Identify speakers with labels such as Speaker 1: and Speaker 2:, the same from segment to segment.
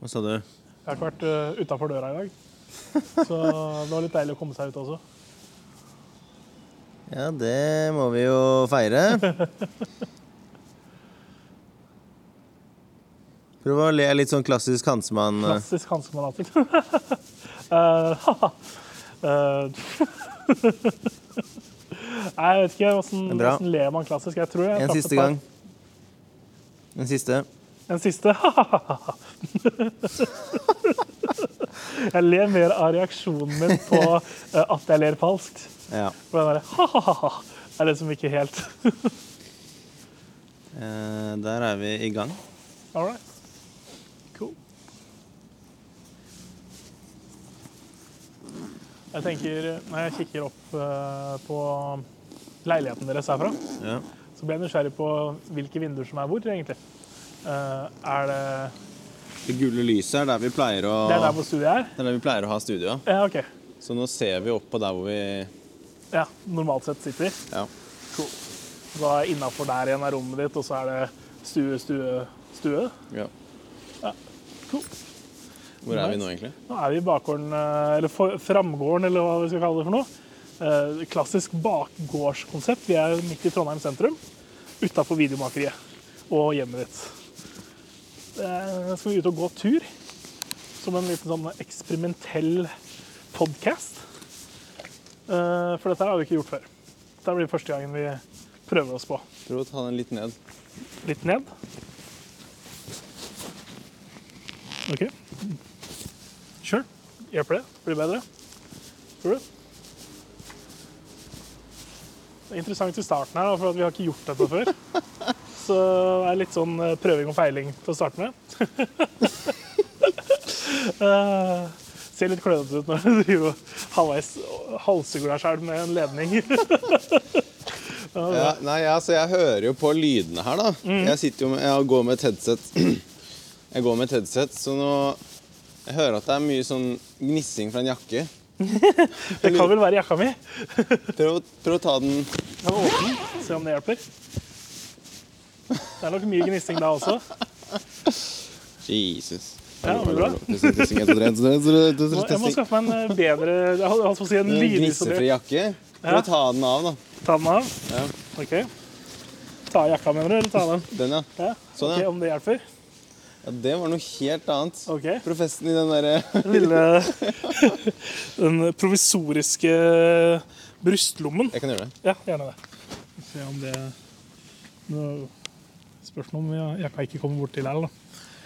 Speaker 1: Hva sa du?
Speaker 2: Jeg har ikke vært uh, utafor døra i dag. Så det var litt deilig å komme seg ut også.
Speaker 1: Ja, det må vi jo feire. Prøv å le litt sånn klassisk eh. Hansemann.
Speaker 2: Klassisk Eh, hanskemannatting. Nei, jeg vet ikke
Speaker 1: Det
Speaker 2: hvordan,
Speaker 1: er bra.
Speaker 2: hvordan ler man klassisk. Jeg tror jeg
Speaker 1: En
Speaker 2: traff et
Speaker 1: siste
Speaker 2: par-
Speaker 1: gang. En siste.
Speaker 2: En siste. jeg ler mer av reaksjonen min på eh, at jeg ler falskt.
Speaker 1: Ja.
Speaker 2: For den derre er det som ikke helt
Speaker 1: Eh, der er vi i gang.
Speaker 2: All right. Cool. Jeg tenker, når jeg kikker opp eh, på leiligheten deres herfra,
Speaker 1: Ja.
Speaker 2: så blir jeg nysgjerrig på hvilke vinduer som er hvor, egentlig. Eh, er det
Speaker 1: Det gule lyset er der vi pleier å,
Speaker 2: Det er der hvor studiet er?
Speaker 1: det er der vi pleier å ha studio.
Speaker 2: Ja, OK.
Speaker 1: Så nå ser vi opp på der hvor vi
Speaker 2: Ja, normalt sett sitter vi.
Speaker 1: Ja.
Speaker 2: Da innafor der igjen er rommet ditt, og så er det stue, stue, stue.
Speaker 1: ja.
Speaker 2: Cool.
Speaker 1: Hvor er vi nå, egentlig?
Speaker 2: Nå er vi i bakgården, eh, eller for- framgården, eller hva vi skal kalle det for noe. Eh, Klassisk bakgårdskonsept. Vi er midt i Trondheim sentrum, utafor videomakeriet og hjemmet ditt. Eh, Skal vi ut og gå tur, som en liten sånn eksperimentell podkast. Eh, For dette her har vi ikke gjort før. Dette blir første gangen vi prøver oss på.
Speaker 1: Prøv å ta den litt ned.
Speaker 2: Litt ned. OK. Sure. Hjelper det? Blir det bedre? Tror du? Det er interessant i starten her, da, for at vi har ikke gjort dette før. Så det er litt sånn eh, prøving og feiling til å starte med. Eh, ser litt klønete ut når du driver og halvveis halshugger deg sjøl med en ledning.
Speaker 1: Ja, nei, altså, jeg hører jo på lydene her, da.
Speaker 2: Mm.
Speaker 1: Jeg sitter jo med, jeg går med et headset. Jeg går med et headset, så nå Jeg hører at det er mye sånn gnissing fra en jakke.
Speaker 2: Det kan vel være jakka mi?
Speaker 1: Prøv, å- prøv å ta den
Speaker 2: Den er åpen. Se om det hjelper. Det er nok mye gnissing da også.
Speaker 1: Jesus.
Speaker 2: Ja, men bra.
Speaker 1: Testing, testing, testing, testing,
Speaker 2: Nå,
Speaker 1: testing,
Speaker 2: jeg må
Speaker 1: testing.
Speaker 2: skaffe meg en eh, bedre Jeg holdt holdt på å si en
Speaker 1: En
Speaker 2: lydisolert
Speaker 1: Gnissefri jakke. Prøv
Speaker 2: Ja.
Speaker 1: å ta den av, da.
Speaker 2: Ta den av.
Speaker 1: Ja,
Speaker 2: OK. Ta av jakka, mener du? Eller ta av den?
Speaker 1: den, ja.
Speaker 2: Ja.
Speaker 1: Sånn,
Speaker 2: ok,
Speaker 1: ja.
Speaker 2: Om det hjelper?
Speaker 1: ja. Det var noe helt annet.
Speaker 2: OK.
Speaker 1: Professen i den eh, derre
Speaker 2: Den lille Den provisoriske brystlommen.
Speaker 1: Jeg kan gjøre det.
Speaker 2: Ja, gjerne det. Se om det Nå Spørsmål om jeg- jakka ikke kommer bort til her, da.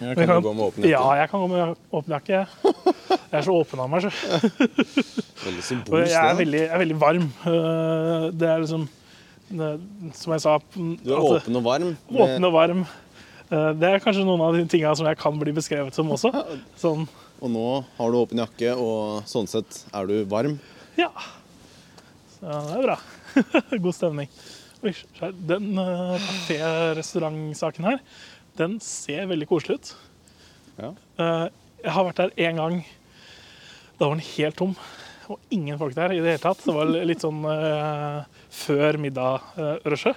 Speaker 1: Jeg
Speaker 2: Men
Speaker 1: kan
Speaker 2: kan-
Speaker 1: jo gå med åpen
Speaker 2: Ja,
Speaker 1: jakke.
Speaker 2: jeg kan gå med åpen jakke. jeg. Jeg er så åpen av meg, så.
Speaker 1: Veldig
Speaker 2: Og
Speaker 1: symbolsk.
Speaker 2: jeg er
Speaker 1: det, da.
Speaker 2: veldig, jeg er veldig varm. Eh, Det er liksom det, Som jeg sa
Speaker 1: Du er
Speaker 2: at-
Speaker 1: åpen og varm.
Speaker 2: altså, åpen og varm. Eh, Det er kanskje noen av de tinga som jeg kan bli beskrevet som også. Sånn
Speaker 1: Og nå har du åpen jakke, og sånn sett er du varm.
Speaker 2: ja. Så det er bra. God stemning. Oi, skjær. Den eh, kafé-restaurantsaken her, den ser veldig koselig ut.
Speaker 1: Ja.
Speaker 2: Eh, Jeg har vært der én gang. Da var den helt tom. Og ingen folk der i det hele tatt. Det var litt sånn eh, før middag-rushet.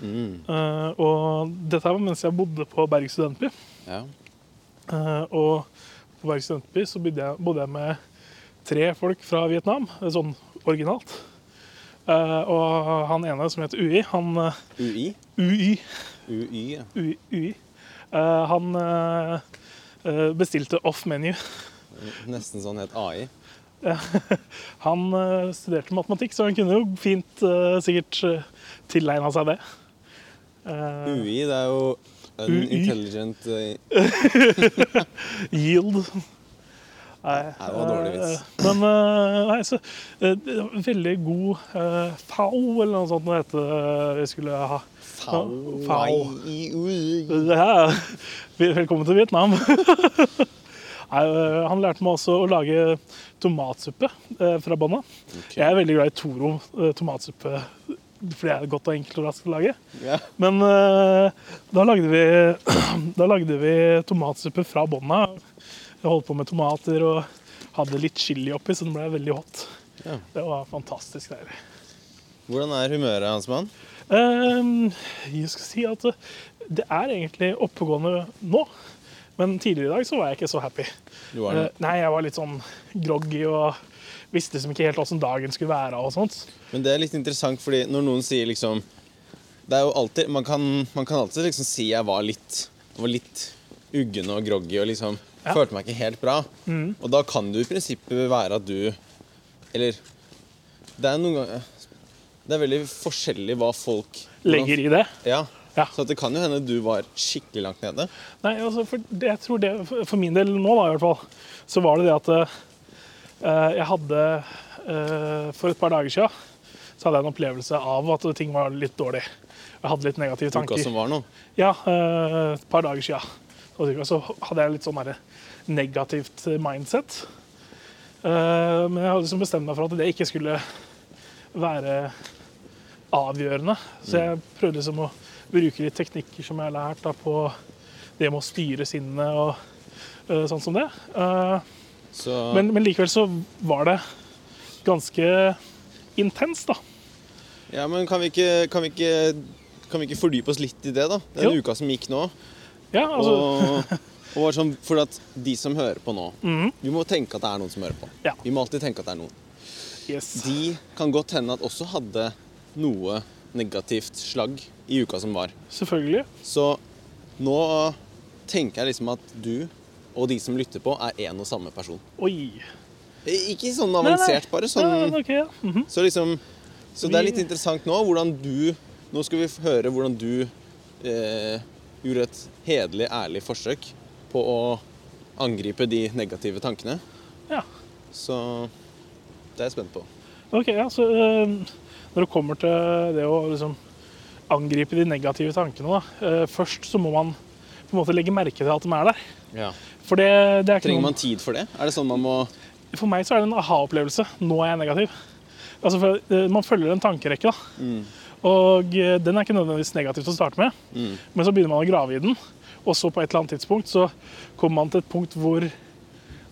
Speaker 2: Eh, og dette her var mens jeg bodde på Berg studentby.
Speaker 1: Ja.
Speaker 2: Eh, og på Berg studentby så bodde jeg, bodde jeg med tre folk fra Vietnam, eh, sånn originalt. Eh, og han ene som heter UI, han eh,
Speaker 1: UI.
Speaker 2: UI
Speaker 1: UI, ja.
Speaker 2: UI. UI. Eh, han eh, eh, bestilte off menu.
Speaker 1: Nesten sånn het AI.
Speaker 2: Han eh, studerte matematikk, så han kunne jo fint eh, sikkert uh, tilegna seg det. Eh,
Speaker 1: UI, det er jo unintelligent eh,
Speaker 2: yield. Nei,
Speaker 1: det var dårlig vits.
Speaker 2: eh, men eh, nei, så eh, det var en Veldig god eh, fau, eller noe sånt det heter eh, vi skulle ha.
Speaker 1: fau-
Speaker 2: Fau.
Speaker 1: UI.
Speaker 2: Det her- Velkommen til Vietnam. Nei, eh, han lærte meg også å lage tomatsuppe eh, fra bånn av.
Speaker 1: Ok.
Speaker 2: Jeg er veldig glad i Toro eh, tomatsuppe, for det er godt og enkelt og raskt å lage.
Speaker 1: Ja.
Speaker 2: Men eh, da, lagde vi, da lagde vi tomatsuppe fra bånna. Jeg holdt på med tomater og hadde litt chili oppi, så den ble veldig hot.
Speaker 1: Ja.
Speaker 2: Det var fantastisk deilig.
Speaker 1: Hvordan er humøret, Hansmann?
Speaker 2: Ehm, Eh, jeg skal si at det er egentlig oppegående nå. Men Men tidligere i dag så var jeg ikke så happy.
Speaker 1: Du var det.
Speaker 2: Eh, Nei, jeg var litt sånn groggy og visste liksom ikke helt åssen dagen skulle være og sånt.
Speaker 1: Men det er litt interessant, fordi når noen sier liksom Det er jo alltid Man kan, man kan alltid liksom si jeg var litt var litt uggen og groggy og liksom
Speaker 2: Ja. Mm.
Speaker 1: følte meg ikke helt bra. Og da kan det jo i prinsippet være at du Eller Det er noen ganger Det er veldig forskjellig hva folk
Speaker 2: Legger i det.
Speaker 1: Ja.
Speaker 2: Ja.
Speaker 1: Så at det kan jo hende du var skikkelig langt nede.
Speaker 2: Nei, altså, for det, jeg tror det, for for min del nå da, i hvert fall, så var det det at eh, jeg hadde eh, For et par dager siden så hadde jeg en opplevelse av at ting var litt dårlig. Jeg hadde litt negative
Speaker 1: Uka
Speaker 2: tanker.
Speaker 1: som var nå.
Speaker 2: Ja, eh, et par dager siden. Så cirka, Så hadde jeg litt sånn derre negativt mindset. Eh, Men jeg hadde liksom bestemt meg for at det ikke skulle være avgjørende. Så jeg
Speaker 1: Mm.
Speaker 2: prøvde liksom å bruke litt teknikker som jeg har lært da, på det med å styre sinnet og eh, sånn som det. Eh,
Speaker 1: Så
Speaker 2: men, men likevel så var det ganske intenst, da.
Speaker 1: Ja, men kan vi ikke Kan vi ikke, kan vi ikke fordype oss litt i det, da? Den
Speaker 2: Jo.
Speaker 1: uka som gikk nå.
Speaker 2: Ja, altså,
Speaker 1: Og, og bare sånn, for at de som hører på nå Vi må tenke at det er noen som hører på.
Speaker 2: Mhm. Ja.
Speaker 1: Vi må alltid tenke at det er noen.
Speaker 2: yes.
Speaker 1: De kan godt hende at også hadde noe negativt slagg i uka som var.
Speaker 2: Selvfølgelig.
Speaker 1: Så nå tenker jeg liksom at du og de som lytter på, er én og samme person.
Speaker 2: Oi.
Speaker 1: Ikke sånn
Speaker 2: Nei, nei.
Speaker 1: avansert, bare
Speaker 2: Ja,
Speaker 1: sånn
Speaker 2: men ok, ja. Mhm.
Speaker 1: Så liksom Så det er
Speaker 2: Vi-
Speaker 1: litt interessant nå hvordan du Nå skal vi f- høre hvordan du eh, gjorde et hederlig, ærlig forsøk på å angripe de negative tankene.
Speaker 2: ja.
Speaker 1: Så det er jeg spent på.
Speaker 2: Ok, ja, så øhm, når det kommer til det å liksom angripe de negative tankene, da, øh, først så må man på en måte legge merke til at de er der. For det, det er ikke
Speaker 1: Trenger man
Speaker 2: noen,
Speaker 1: tid for det? Er det sånn man må
Speaker 2: For meg så er det en aha-opplevelse. Nå er jeg negativ. Altså, for, øh, man følger en tankerekke, da.
Speaker 1: Mm.
Speaker 2: Og øh, den er ikke nødvendigvis negativ til å starte med,
Speaker 1: Mm.
Speaker 2: men så begynner man å grave i den. Og så på et eller annet tidspunkt så kommer man til et punkt hvor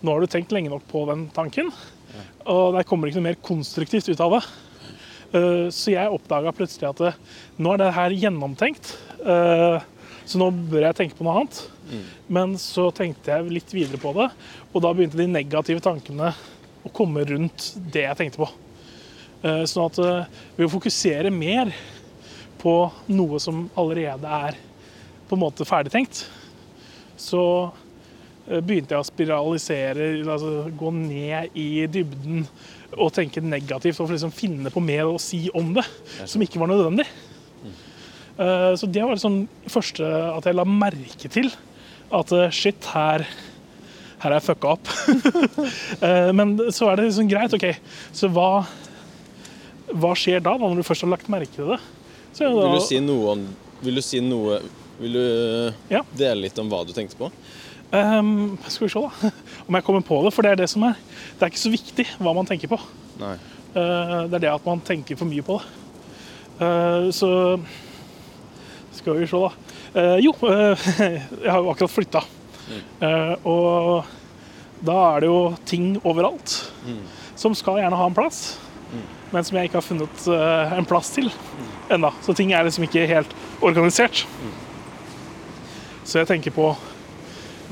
Speaker 2: nå har du tenkt lenge nok på den tanken, og der kommer det ikke noe mer konstruktivt ut av det. Eh, Så jeg oppdaga plutselig at eh, nå er det her gjennomtenkt, eh, så nå bør jeg tenke på noe annet. Men så tenkte jeg litt videre på det, og da begynte de negative tankene å komme rundt det jeg tenkte på. Eh, Sånn at eh, ved å fokusere mer på noe som allerede er på en måte ferdigtenkt, så eh, begynte jeg å spiralisere, altså gå ned i dybden og tenke negativt og liksom finne på mer å si om det, som ikke var nødvendig.
Speaker 1: Mm.
Speaker 2: Eh, Så det var liksom første at jeg la merke til at eh, shit, her her er jeg fucka opp. Eh, Men så er det liksom greit, OK. Så hva, hva skjer da, da, når du først har lagt merke til det? Så er det da-
Speaker 1: Vil du si noe om Vil du si noe Vil du
Speaker 2: Ja.
Speaker 1: dele litt om hva du tenkte på?
Speaker 2: Ehm, skal vi se, da. Om jeg kommer på det. For det er det som er. Det er ikke så viktig hva man tenker på.
Speaker 1: Nei.
Speaker 2: Eh, det er det at man tenker for mye på det. Eh, så skal vi se, da. Eh, jo, eh, jeg har jo akkurat flytta. og da er det jo ting overalt som skal gjerne ha en plass, men som jeg ikke har funnet eh, en plass til ennå. Så ting er liksom ikke helt organisert. Så jeg tenker på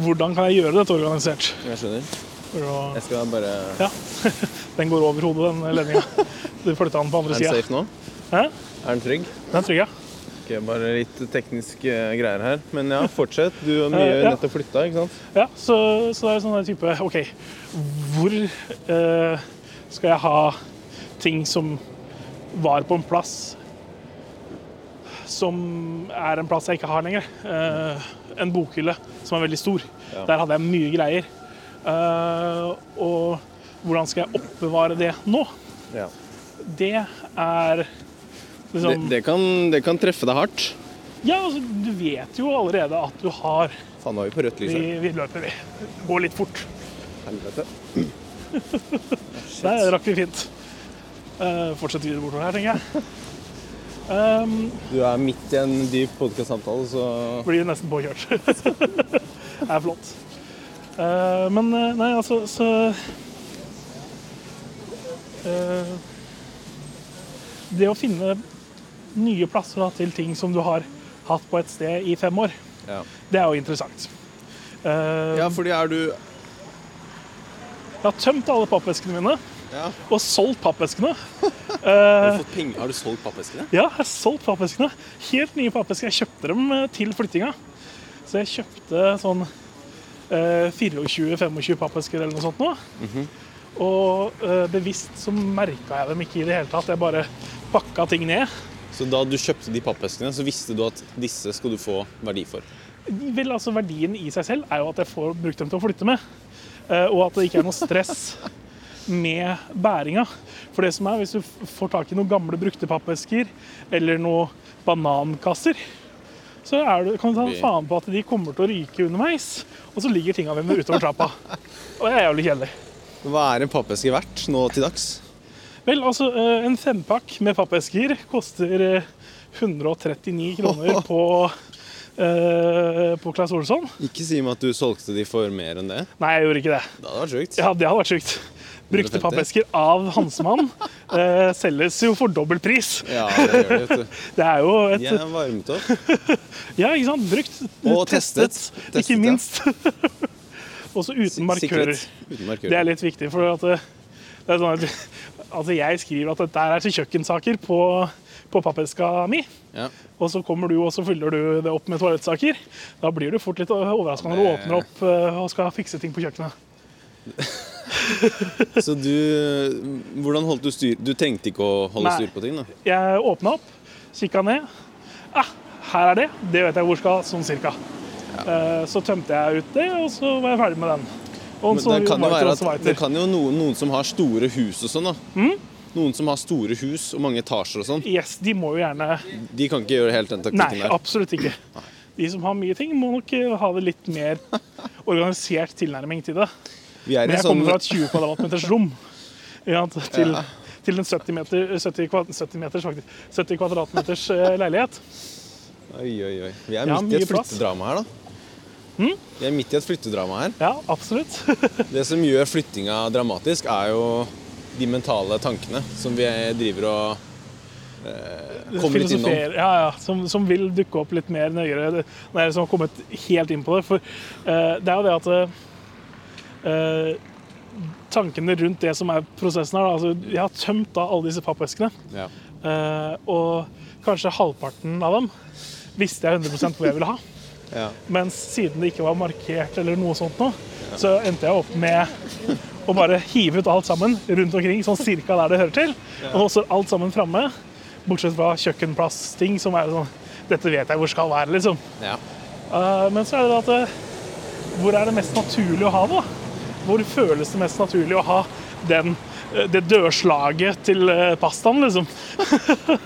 Speaker 2: hvordan kan jeg gjøre dette organisert?
Speaker 1: Jeg skjønner.
Speaker 2: For å-
Speaker 1: Jeg skal bare
Speaker 2: ja. Den går over hodet, den ledninga. Du flytta den på andre
Speaker 1: Er den
Speaker 2: sida.
Speaker 1: safe nå?
Speaker 2: Den
Speaker 1: Er den trygg?
Speaker 2: er trygg, ja.
Speaker 1: Ok, bare litt tekniske greier her. Men ja, fortsett. Du har mye
Speaker 2: Eh, ja.
Speaker 1: nettopp flytta, ikke sant?
Speaker 2: ja så, så det er sånn der type OK, hvor eh, skal jeg ha ting som var på en plass som er en plass jeg ikke har lenger? Eh, en bokhylle som er veldig stor.
Speaker 1: Ja.
Speaker 2: Der hadde jeg mye greier. Eh, og hvordan skal jeg oppbevare det nå?
Speaker 1: Ja.
Speaker 2: Det er
Speaker 1: Det,
Speaker 2: liksom
Speaker 1: det, kan, det kan treffe deg hardt.
Speaker 2: Ja, altså, du vet jo allerede at du har
Speaker 1: Faen, nå er vi på rødt lys
Speaker 2: Vi,
Speaker 1: her.
Speaker 2: vi løper, vi. Går litt fort.
Speaker 1: Helvete.
Speaker 2: Der rakk vi fint. Uh, fortsett videre bortover her, tenker jeg. Ehm,
Speaker 1: Du er midt i en dyp podkast-samtale, så
Speaker 2: blir nesten påkjørt. det er flott. Eh, men eh, nei, altså så eh, Det å finne nye plasser da, til ting som du har hatt på et sted i fem år,
Speaker 1: ja.
Speaker 2: Det er jo interessant. Eh,
Speaker 1: Ja, fordi er du
Speaker 2: Jeg har tømt alle pappeskene mine
Speaker 1: ja.
Speaker 2: og solgt pappeskene. Eh.
Speaker 1: Har, du fått peng- har du solgt pappeskene?
Speaker 2: Ja, jeg har solgt pappeskene. Helt nye pappesker. Jeg kjøpte dem eh, til flyttinga. Så jeg kjøpte sånn eh, 24-25 pappesker eller noe sånt nå. Og eh, bevisst så merka jeg dem ikke i det hele tatt. Jeg bare pakka ting ned.
Speaker 1: Så da du kjøpte de pappeskene, så visste du at disse skal du få verdi for?
Speaker 2: Vel, altså Verdien i seg selv er jo at jeg får brukt dem til å flytte med. Eh, og at det ikke er noe stress med bæringa. For det som er, hvis du f- får tak i noen gamle brukte pappesker eller noen banankasser, så er du, kan du ta
Speaker 1: Blir-
Speaker 2: faen på at de kommer til å ryke underveis. Og så ligger tinga mine utover trappa. Og det er jævlig kjedelig.
Speaker 1: Hva er en pappeske verdt nå til dags?
Speaker 2: Vel, altså, eh, en fempakk med pappesker koster eh, 139 kroner på, eh, på Claes Olsson.
Speaker 1: Ikke si meg at du solgte de for mer enn det.
Speaker 2: Nei, jeg gjorde ikke det.
Speaker 1: Det hadde vært sjukt.
Speaker 2: Ja, det hadde vært sjukt. Brukte
Speaker 1: 150.
Speaker 2: pappesker av Hansemann eh, selges jo for dobbel pris.
Speaker 1: Ja, det gjør det, vet du.
Speaker 2: Det er jo et
Speaker 1: De er varmet opp.
Speaker 2: Ja, ikke sant? Brukt,
Speaker 1: Og testet. Testet,
Speaker 2: Ikke
Speaker 1: ja.
Speaker 2: minst. Også uten markører.
Speaker 1: Sikret. Uten
Speaker 2: Det er
Speaker 1: markører.
Speaker 2: litt viktig, for at eh, det er sånn at Altså, jeg skriver at dette her er til kjøkkensaker på, på pappeska mi.
Speaker 1: Ja.
Speaker 2: Og så kommer du, og så fyller du det opp med toalettsaker. Da blir du fort litt overraska når du
Speaker 1: Ja, det-
Speaker 2: åpner opp eh, og skal fikse ting på kjøkkenet.
Speaker 1: Så du Hvordan holdt du styr Du trengte ikke å holde
Speaker 2: Nei.
Speaker 1: styr på ting, da?
Speaker 2: Jeg åpna opp, kikka ned. Ah, her er det. Det vet jeg hvor skal, sånn cirka. Eh, Så tømte jeg ut det, og så var jeg ferdig med den. Og
Speaker 1: Men
Speaker 2: så
Speaker 1: det kan jo
Speaker 2: weiter,
Speaker 1: være
Speaker 2: og så
Speaker 1: at
Speaker 2: weiter.
Speaker 1: det kan jo noen, noen som har store hus og sånn, da.
Speaker 2: Mm?
Speaker 1: Noen som har store hus og mange etasjer og sånn,
Speaker 2: Yes, de må jo gjerne
Speaker 1: de kan ikke gjøre helt den
Speaker 2: Nei,
Speaker 1: taktikken der.
Speaker 2: absolutt ikke. De som har mye ting, må nok eh, ha det litt mer organisert tilnærming til det.
Speaker 1: Vi er
Speaker 2: Men
Speaker 1: i
Speaker 2: jeg
Speaker 1: sånn
Speaker 2: kommer fra et 20 kvadratmeters rom ja, t- til,
Speaker 1: Ja.
Speaker 2: til en 70, meter, 70, kva- 70, meters, faktisk, 70 kvadratmeters eh, leilighet.
Speaker 1: Oi, oi, oi. Vi er
Speaker 2: Ja,
Speaker 1: midt i
Speaker 2: mye
Speaker 1: et
Speaker 2: plass. Mm?
Speaker 1: flyttedrama her, da. Vi er midt i et flyttedrama her.
Speaker 2: Ja, absolutt.
Speaker 1: Det som gjør flyttinga dramatisk, er jo de mentale tankene som vi driver og eh, kommer litt innom.
Speaker 2: Filosofer- Ja, ja, som, som vil dukke opp litt mer nøyere. Det- Nei, som har kommet helt inn på det. For eh, det er jo det at eh, Tankene rundt det som er prosessen her da, altså, Jeg har tømt da alle disse pappeskene.
Speaker 1: Ja.
Speaker 2: eh, og kanskje halvparten av dem visste jeg 100 hvor jeg ville ha.
Speaker 1: Ja.
Speaker 2: Mens siden det ikke var markert eller noe sånt nå, så endte jeg opp med å bare hive ut alt sammen rundt omkring, sånn cirka der det hører til. Og nå står alt sammen framme, bortsett fra kjøkkenplassting, som er sånn Dette vet jeg hvor skal være, liksom.
Speaker 1: ja.
Speaker 2: Eh, men så er det at eh, Hvor er det mest naturlig å ha det? da? Hvor føles det mest naturlig å ha den, eh, det dørslaget til eh, pastaen, liksom?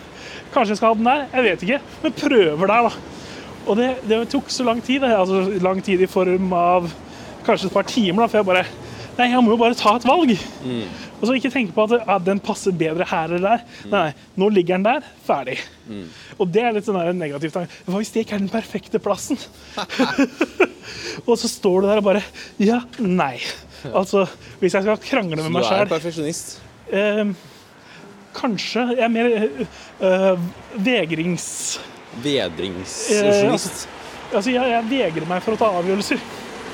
Speaker 2: Kanskje jeg skal ha den der? Jeg vet ikke. Men prøver der, da. Og det, det tok så lang tid. det. Altså, lang tid i form av kanskje et par timer, da, for jeg bare Nei, jeg må jo bare ta et valg.
Speaker 1: Mm.
Speaker 2: Og så ikke tenke på at ja, den passer bedre her eller der. Nei, nei, nå ligger den der. Ferdig.
Speaker 1: Mm.
Speaker 2: Og det er litt sånn der negativ tanke. Hva hvis det ikke er den perfekte plassen? og så står du der og bare Ja, nei. Altså, hvis jeg skal krangle med
Speaker 1: Du
Speaker 2: meg
Speaker 1: er
Speaker 2: sjæl
Speaker 1: perfeksjonist.
Speaker 2: eh, Kanskje jeg er mer eh, eh, vegrings...
Speaker 1: Vedringssosjonist.
Speaker 2: Altså, jeg, jeg vegrer meg for å ta avgjørelser.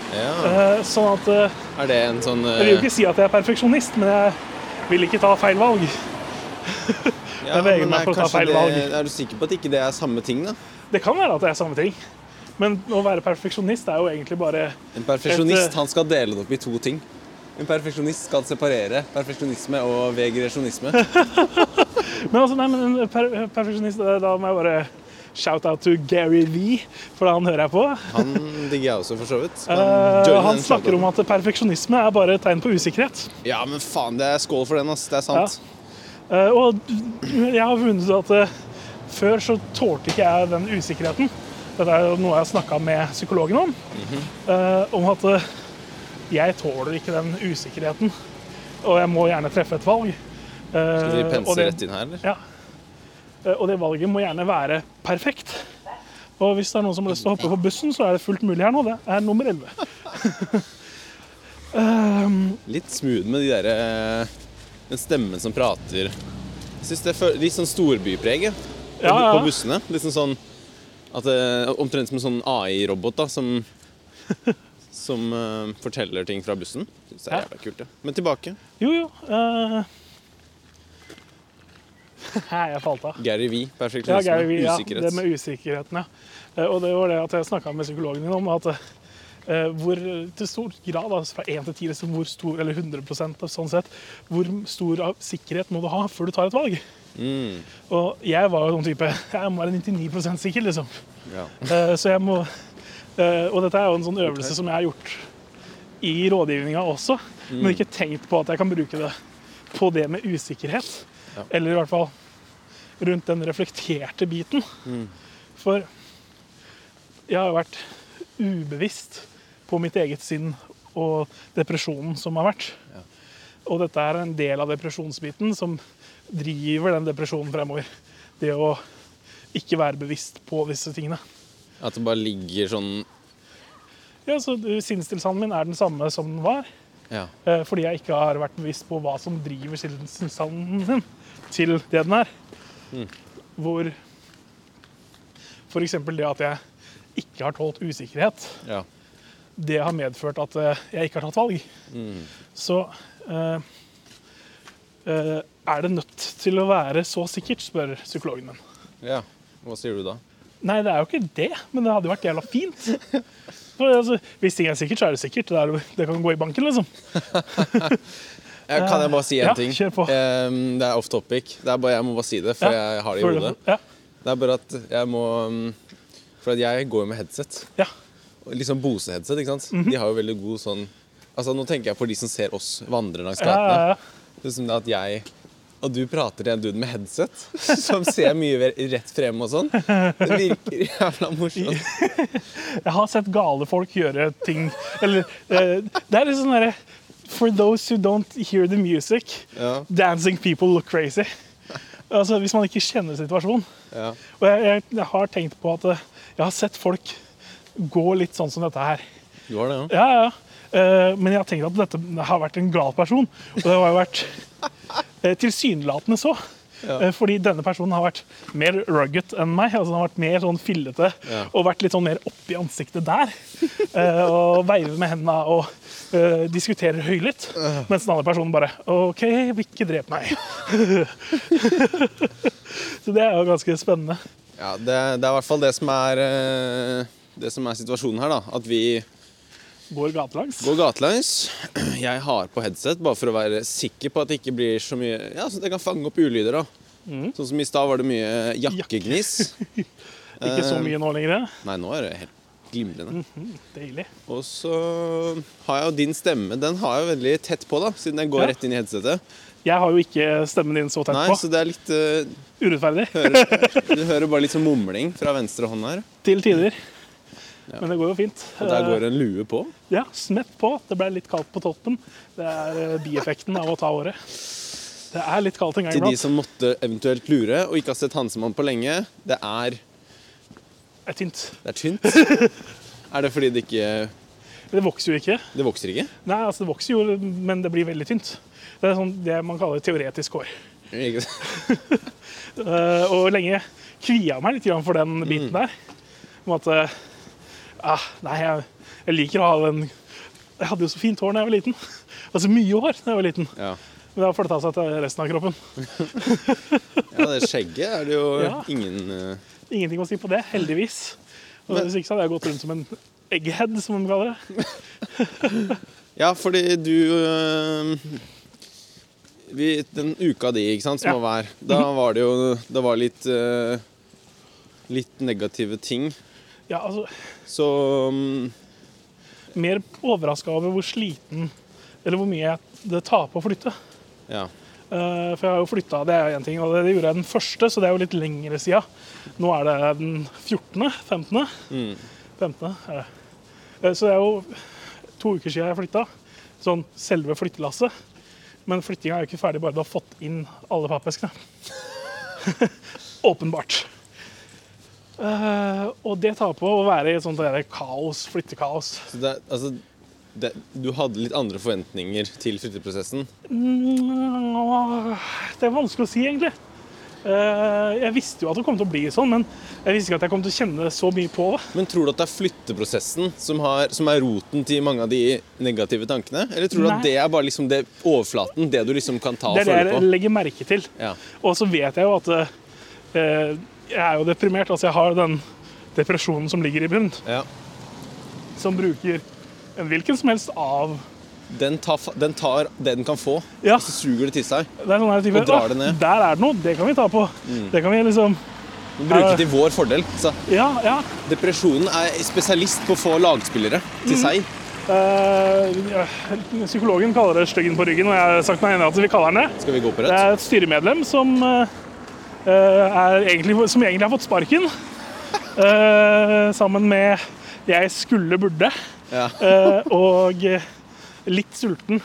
Speaker 1: Ja.
Speaker 2: Eh, sånn at eh,
Speaker 1: Er det en sånn
Speaker 2: Jeg vil jo
Speaker 1: eh,
Speaker 2: ikke si at jeg er perfeksjonist, men jeg vil ikke ta feil valg.
Speaker 1: ja,
Speaker 2: vegrer
Speaker 1: men
Speaker 2: meg
Speaker 1: er
Speaker 2: for å ta
Speaker 1: kanskje
Speaker 2: feil
Speaker 1: det- Er du sikker på at ikke det er samme ting, da?
Speaker 2: Det kan være at det er samme ting. Men å være perfeksjonist er jo egentlig bare
Speaker 1: En
Speaker 2: Et,
Speaker 1: perfeksjonist
Speaker 2: eh,
Speaker 1: han skal dele det opp i to ting. En perfeksjonist skal separere perfeksjonisme og vegresjonisme.
Speaker 2: Men altså, nei, men en per perfeksjonist eh, Da må jeg bare shout out to Gary V, for han hører jeg på.
Speaker 1: Han digger jeg også, for så vidt. Kan
Speaker 2: Eh,
Speaker 1: joine
Speaker 2: han
Speaker 1: den
Speaker 2: snakker om
Speaker 1: shoutouten.
Speaker 2: at perfeksjonisme er bare et tegn på usikkerhet.
Speaker 1: Ja, men faen, det er skål for den, ass. Det er sant.
Speaker 2: Eh, og jeg har funnet ut at eh, før så tålte ikke jeg den usikkerheten. Dette er jo noe jeg har snakka med psykologen om.
Speaker 1: Mhm.
Speaker 2: eh, om at eh, jeg tåler ikke den usikkerheten. Og jeg må gjerne treffe et valg. Eh,
Speaker 1: Skal vi pense
Speaker 2: og det-
Speaker 1: rett inn her, eller?
Speaker 2: Ja. Eh, Og det valget må gjerne være perfekt. Og hvis det er noen som har lyst til å hoppe på bussen, så er det fullt mulig her nå. Det er nummer 11.
Speaker 1: Litt smooth med de derre eh, Den stemmen som prater. Jeg synes det er fø- litt sånn storbypreget på,
Speaker 2: Ja, ja.
Speaker 1: på eh, bussene. Litt sånn sånn at det, Omtrent som en sånn AI-robot da, som som eh, forteller ting fra bussen. Synes det er
Speaker 2: Ja.
Speaker 1: jævla kult, det. Men tilbake.
Speaker 2: Jo, jo. eh. jeg falt av.
Speaker 1: Gary V.
Speaker 2: Ja,
Speaker 1: Perfeksjonisme.
Speaker 2: Gary, Vee, ja, det
Speaker 1: Usikkerhet.
Speaker 2: med usikkerheten, ja. Eh, Og det var det at jeg snakka med psykologen din om. at eh, hvor eh, til stor grad, altså fra 1 til 10, liksom, hvor stor, eller 100 av sånn sett, hvor stor av sikkerhet må du ha før du tar et valg?
Speaker 1: Mm,
Speaker 2: Og jeg var jo sånn type Jeg må være 99 sikker, liksom.
Speaker 1: ja.
Speaker 2: Eh, Så jeg må eh, Og dette er jo en sånn øvelse som jeg har gjort i rådgivninga også,
Speaker 1: Mm.
Speaker 2: men ikke tenkt på at jeg kan bruke det på det med usikkerhet.
Speaker 1: Ja.
Speaker 2: Eller i hvert fall rundt den reflekterte biten.
Speaker 1: Mm.
Speaker 2: For jeg har jo vært ubevisst på mitt eget sinn og depresjonen som har vært.
Speaker 1: Ja.
Speaker 2: Og dette er en del av depresjonsbiten som driver den depresjonen fremover. Det å ikke være bevisst på disse tingene.
Speaker 1: At det bare ligger sånn
Speaker 2: Ja, så du- Sinnstilstanden min er den samme som den var,
Speaker 1: Ja.
Speaker 2: eh, fordi jeg ikke har vært bevisst på hva som driver sinnstilstanden min til det den er. Hvor for eksempel det at jeg ikke har tålt usikkerhet,
Speaker 1: ja.
Speaker 2: det har medført at eh, jeg ikke har tatt valg. Så eh, eh, er det nødt til å være så sikkert, spør psykologen min.
Speaker 1: ja. Hva sier du da?
Speaker 2: Nei, det er jo ikke det, men det hadde jo vært jævla fint. For, altså, hvis ting er sikkert, så er det sikkert. Det, er, jo- det kan gå i banken, liksom.
Speaker 1: Eh, Kan jeg bare si én
Speaker 2: ja,
Speaker 1: ting?
Speaker 2: kjør på.
Speaker 1: Ehm, det er off topic. Det er bare, jeg må bare si det, for
Speaker 2: Ja,
Speaker 1: jeg har det i
Speaker 2: for-
Speaker 1: hodet.
Speaker 2: Ja,
Speaker 1: Det er bare at jeg må mm, For at jeg går jo med headset.
Speaker 2: ja,
Speaker 1: Og Liksom Bose-headset, ikke sant?
Speaker 2: Mhm.
Speaker 1: De har jo veldig god sånn Altså Nå tenker jeg på de som ser oss vandre langs
Speaker 2: ja, ja,
Speaker 1: gatene.
Speaker 2: ja.
Speaker 1: Det er som det at jeg og du prater til en dude med headset som ser mye ver- rett frem og sånn. Det virker jævla morsomt.
Speaker 2: Jeg har sett gale folk gjøre ting Eller eh, Det er litt sånn derre For those who don't hear the music,
Speaker 1: Ja,
Speaker 2: dancing people look crazy. Altså, Hvis man ikke kjenner situasjonen.
Speaker 1: ja,
Speaker 2: Og jeg, jeg, jeg har tenkt på at eh, jeg har sett folk gå litt sånn som dette her.
Speaker 1: Du har det, ja?
Speaker 2: Ja, ja. Eh, Men jeg tenker at dette har vært en gal person. Og det har jo vært eh, tilsynelatende så.
Speaker 1: Ja.
Speaker 2: Eh, Fordi denne personen har vært mer rugged enn meg. altså Han har vært mer sånn fillete
Speaker 1: Ja.
Speaker 2: og vært litt sånn mer oppi ansiktet der. Eh, Og veiver med hendene og eh, diskuterer høylytt. Mens den andre personen bare OK, ikke drep meg. Så det er jo ganske spennende.
Speaker 1: ja det, det er i hvert fall det som er eh, Det som er situasjonen her, da. At vi
Speaker 2: Går gatelangs.
Speaker 1: går gatelangs. Jeg har på headset bare for å være sikker på at det ikke blir så mye Ja, så det kan fange opp ulyder, da. Sånn som i stad var det mye jakkegniss.
Speaker 2: Ikke
Speaker 1: Eh.
Speaker 2: så mye nå lenger.
Speaker 1: Nei, nå er det helt glimrende.
Speaker 2: Deilig.
Speaker 1: Og så har jeg jo din stemme. Den har jeg jo veldig tett på, da, siden den går
Speaker 2: Ja.
Speaker 1: rett inn i headsetet.
Speaker 2: Jeg har jo ikke stemmen din så tett
Speaker 1: Nei,
Speaker 2: på.
Speaker 1: så det er litt eh,
Speaker 2: Urettferdig.
Speaker 1: Du hører bare litt sånn mumling fra venstre hånd her.
Speaker 2: Til tider. Men det går jo fint.
Speaker 1: Og der går en lue på.
Speaker 2: Eh, Ja, Smett på. Det ble litt kaldt på toppen. Det er eh, bieffekten av å ta året. Det er litt kaldt en gang
Speaker 1: Til de
Speaker 2: iblant.
Speaker 1: som måtte eventuelt lure og ikke har sett Hansemann på lenge. Det er,
Speaker 2: Det er tynt.
Speaker 1: det er tynt. Er det fordi det ikke
Speaker 2: Det vokser jo ikke.
Speaker 1: Det vokser ikke?
Speaker 2: Nei, altså det vokser jo, men det blir veldig tynt. Det er sånn det man kaller teoretisk hår.
Speaker 1: Ikke-
Speaker 2: Eh, og lenge kvia jeg meg litt grann for den
Speaker 1: Mm.
Speaker 2: biten der. Om at eh, ah, Nei, jeg, jeg liker å ha den Jeg hadde jo så fint hår da jeg var liten. Altså mye hår da jeg var liten.
Speaker 1: Ja.
Speaker 2: Men det har flytta seg til resten av kroppen.
Speaker 1: ja, det skjegget er det jo
Speaker 2: Ja.
Speaker 1: ingen eh,
Speaker 2: Ingenting å si på det, heldigvis. Og Hvis ikke så hadde jeg gått rundt som en egghead, som de kaller det.
Speaker 1: Ja, fordi du øh, vi, Den uka di, ikke sant, som
Speaker 2: Ja. Mhm.
Speaker 1: var hver, da var det jo Det var litt øh, Litt negative ting.
Speaker 2: Ja, altså,
Speaker 1: Så mm,
Speaker 2: Mer overraska over hvor sliten eller hvor mye jeg- det tar på å flytte.
Speaker 1: ja.
Speaker 2: Eh, For jeg har jo flytta, det er jo én ting. Og det gjorde jeg den første, så det er jo litt lengre sida. Nå er det den 14. 15. 15. er det. Eh, Så det er jo to uker siden jeg flytta. Sånn selve flyttelasset. Men flyttinga er jo ikke ferdig bare du har fått inn alle pappeskene. Åpenbart. Eh, og det tar på å være i et sånt der kaos, flyttekaos.
Speaker 1: Så det, altså det, Du hadde litt andre forventninger til flytteprosessen.
Speaker 2: Mm, åh, Det er vanskelig å si, egentlig. Eh, Jeg visste jo at det kom til å bli sånn, men jeg visste ikke at jeg kom til å kjenne så mye på det.
Speaker 1: Men tror du at det er flytteprosessen som, har, som er roten til mange av de negative tankene? Eller tror du
Speaker 2: Nei.
Speaker 1: at det er bare liksom det overflaten, det du liksom kan ta og
Speaker 2: Det er det
Speaker 1: føle
Speaker 2: jeg
Speaker 1: på?
Speaker 2: legger merke til.
Speaker 1: Ja.
Speaker 2: Og så vet jeg jo at eh, jeg er jo deprimert. Altså, jeg har den depresjonen som ligger i bunnen,
Speaker 1: Ja.
Speaker 2: som bruker en hvilken som helst av
Speaker 1: Den, tar, fa- den tar det den kan få,
Speaker 2: Ja.
Speaker 1: og så suger det til seg.
Speaker 2: Det er sånn her type,
Speaker 1: Og drar
Speaker 2: «Åh,
Speaker 1: det ned. Mm.
Speaker 2: Der er det noe, det kan vi ta på. Det kan vi liksom
Speaker 1: Den bruker til vår fordel. Så
Speaker 2: Ja, ja.
Speaker 1: depresjonen er spesialist på å få lagspillere
Speaker 2: Mm.
Speaker 1: til seg.
Speaker 2: Eh, ja, psykologen kaller det styggen på ryggen, og jeg har sagt meg enig i at vi kaller den det.
Speaker 1: Skal vi gå på
Speaker 2: Det
Speaker 1: rett?
Speaker 2: er et styremedlem som, eh, eh, er egentlig, som egentlig har fått sparken. eh, sammen med 'jeg skulle burde'.
Speaker 1: Ja.
Speaker 2: Eh, og eh, litt sulten.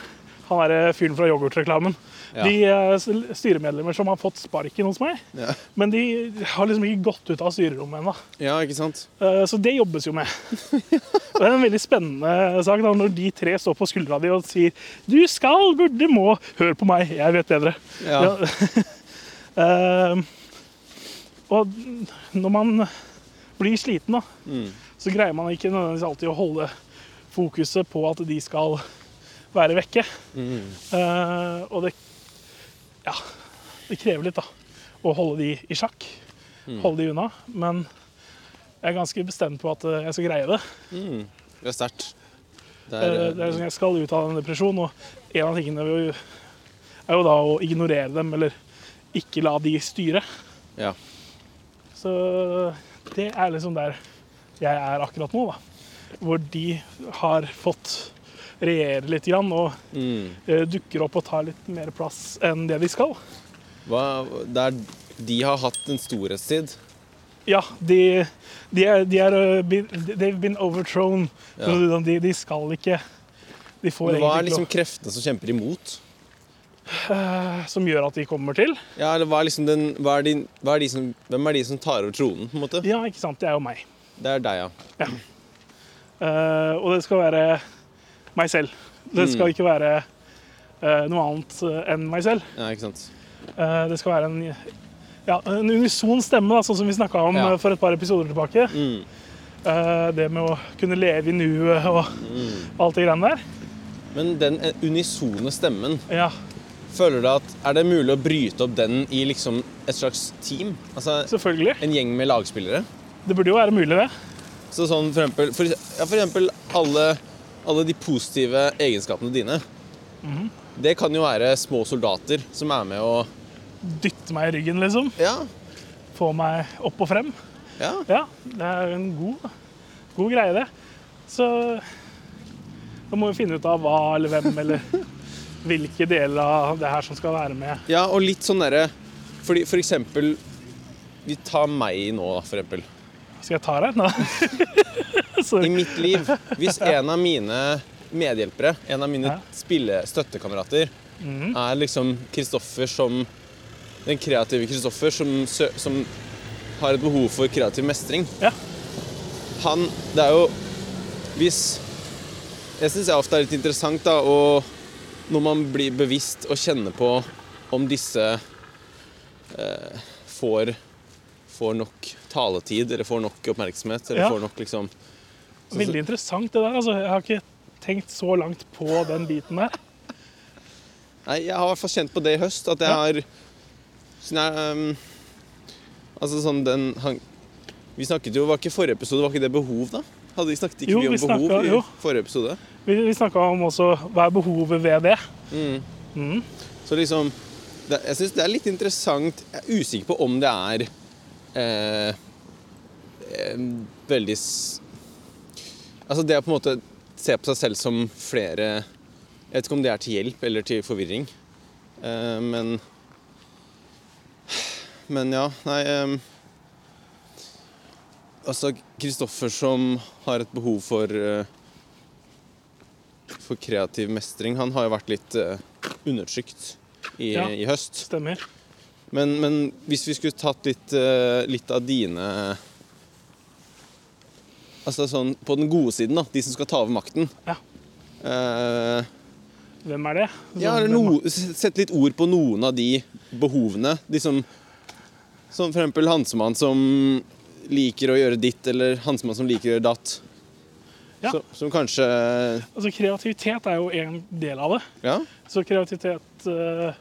Speaker 2: Han er eh, fyren fra yoghurtreklamen.
Speaker 1: Ja.
Speaker 2: De er s- styremedlemmer som har fått sparken hos meg,
Speaker 1: Ja.
Speaker 2: men de har liksom ikke gått ut av styrerommet ennå.
Speaker 1: ja, ikke sant?
Speaker 2: Eh, Så det jobbes jo med. Og Det er en veldig spennende sak da, når de tre står på skuldra di og sier 'du skal, burde, må, hør på meg, jeg vet bedre'.
Speaker 1: Ja.
Speaker 2: Eh, og når man blir sliten, da, så greier man ikke nødvendigvis alltid å holde fokuset på at de skal være vekke. Eh, og det Ja. Det krever litt, da. Å holde de i sjakk. Holde de unna. Men jeg er ganske bestemt på at eh, jeg skal greie det.
Speaker 1: Det er sterkt. Det
Speaker 2: Det
Speaker 1: er,
Speaker 2: er, det er sånn, jeg skal ut av en depresjon, og en av tingene er jo, er jo da å ignorere dem, eller ikke la de styre.
Speaker 1: ja.
Speaker 2: Så det er liksom der jeg er akkurat nå, da. Hvor de har fått regjere litt grann, og
Speaker 1: Mm.
Speaker 2: eh, dukker opp og tar litt mer plass enn det de skal.
Speaker 1: Hva, det er, de har hatt en storhetstid.
Speaker 2: Ja, de, de er, de er eh, been- They've been overthrown.
Speaker 1: Ja.
Speaker 2: Så De, de skal ikke De får
Speaker 1: Men hva er
Speaker 2: egentlig
Speaker 1: liksom
Speaker 2: ikke
Speaker 1: kreftene som kjemper imot? liksom
Speaker 2: lov som gjør at de kommer til.
Speaker 1: Ja, eller hva er liksom den, hva er de, hva er de som, Hvem er de som tar over tronen, på en måte?
Speaker 2: Ja, ikke sant. Det er jo meg.
Speaker 1: Det er deg, ja.
Speaker 2: Eh, og det skal være meg selv. Det
Speaker 1: Mm.
Speaker 2: skal ikke være eh, noe annet eh, enn meg selv.
Speaker 1: ja ikke sant?
Speaker 2: Eh, det skal være en, ja, en unison stemme, da, sånn som vi snakka om
Speaker 1: Ja.
Speaker 2: eh, for et par episoder tilbake.
Speaker 1: Mm.
Speaker 2: Eh, det med å kunne leve i nuet og
Speaker 1: Mm.
Speaker 2: alt det greiene der.
Speaker 1: Men den eh, unisone stemmen,
Speaker 2: Ja.
Speaker 1: føler du at Er det mulig å bryte opp den i liksom et slags team? Altså
Speaker 2: Selvfølgelig.
Speaker 1: en gjeng med lagspillere?
Speaker 2: Det burde jo være mulig, det.
Speaker 1: Så sånn for eksempel, for, ja, for eksempel alle, alle de positive egenskapene dine. Det kan jo være små soldater som er med og
Speaker 2: Dytte meg i ryggen, liksom.
Speaker 1: Ja.
Speaker 2: Få meg opp og frem.
Speaker 1: ja.
Speaker 2: Ja, det er en god, god greie, det. Så da må vi finne ut av hva eller hvem eller hvilke deler av det her som skal være med.
Speaker 1: Ja, og litt sånn derre Fordi for eksempel Vi tar meg nå, da, for eksempel.
Speaker 2: Skal jeg ta deg? Nei.
Speaker 1: I
Speaker 2: Sorry.
Speaker 1: mitt liv, hvis en av mine medhjelpere, en av mine
Speaker 2: Ja. Mhm.
Speaker 1: spille støttekamerater, er liksom Kristoffer som Den kreative Kristoffer som, sø- som har et behov for kreativ mestring.
Speaker 2: Ja.
Speaker 1: Han Det er jo Hvis Jeg syns jeg ofte er litt interessant, da, og når man blir bevisst og kjenner på om disse eh, får får nok taletid, eller får nok oppmerksomhet, eller
Speaker 2: Ja.
Speaker 1: får nok liksom
Speaker 2: Veldig interessant det der. Altså, jeg har ikke tenkt så langt på den biten der.
Speaker 1: Nei, jeg har i hvert fall kjent på det i høst, at jeg
Speaker 2: Ja.
Speaker 1: har sånn jeg, ehm, Altså sånn den han, Vi snakket jo, var ikke forrige episode, var ikke det behov, da? Hadde vi snakket ikke
Speaker 2: Jo,
Speaker 1: vi om
Speaker 2: vi snakket-
Speaker 1: behov i
Speaker 2: jo.
Speaker 1: forrige episode?
Speaker 2: Vi, vi snakka om også hva er behovet ved det.
Speaker 1: Så liksom det, Jeg syns det er litt interessant Jeg er usikker på om det er eh, em, veldig s- Altså det å på en måte se på seg selv som flere Jeg vet ikke om det er til hjelp eller til forvirring, eh, men Men ja, nei em, Altså Kristoffer som har et behov for eh, for kreativ mestring. Han har jo vært litt eh, undertrykt i,
Speaker 2: Ja.
Speaker 1: i høst.
Speaker 2: Stemmer.
Speaker 1: Men, men hvis vi skulle tatt litt, eh, litt av dine Altså sånn på den gode siden, da. De som skal ta over makten.
Speaker 2: Ja.
Speaker 1: Eh,
Speaker 2: Hvem er det?
Speaker 1: ja,
Speaker 2: Sånn,
Speaker 1: eller
Speaker 2: hvem-
Speaker 1: no, s- sett litt ord på noen av de behovene. De som Som for eksempel Hansemann som liker å gjøre ditt, eller Hansemann som liker å gjøre datt.
Speaker 2: Ja.
Speaker 1: Så, som kanskje
Speaker 2: Altså, kreativitet er jo en del av det.
Speaker 1: Ja.
Speaker 2: Så kreativitet eh,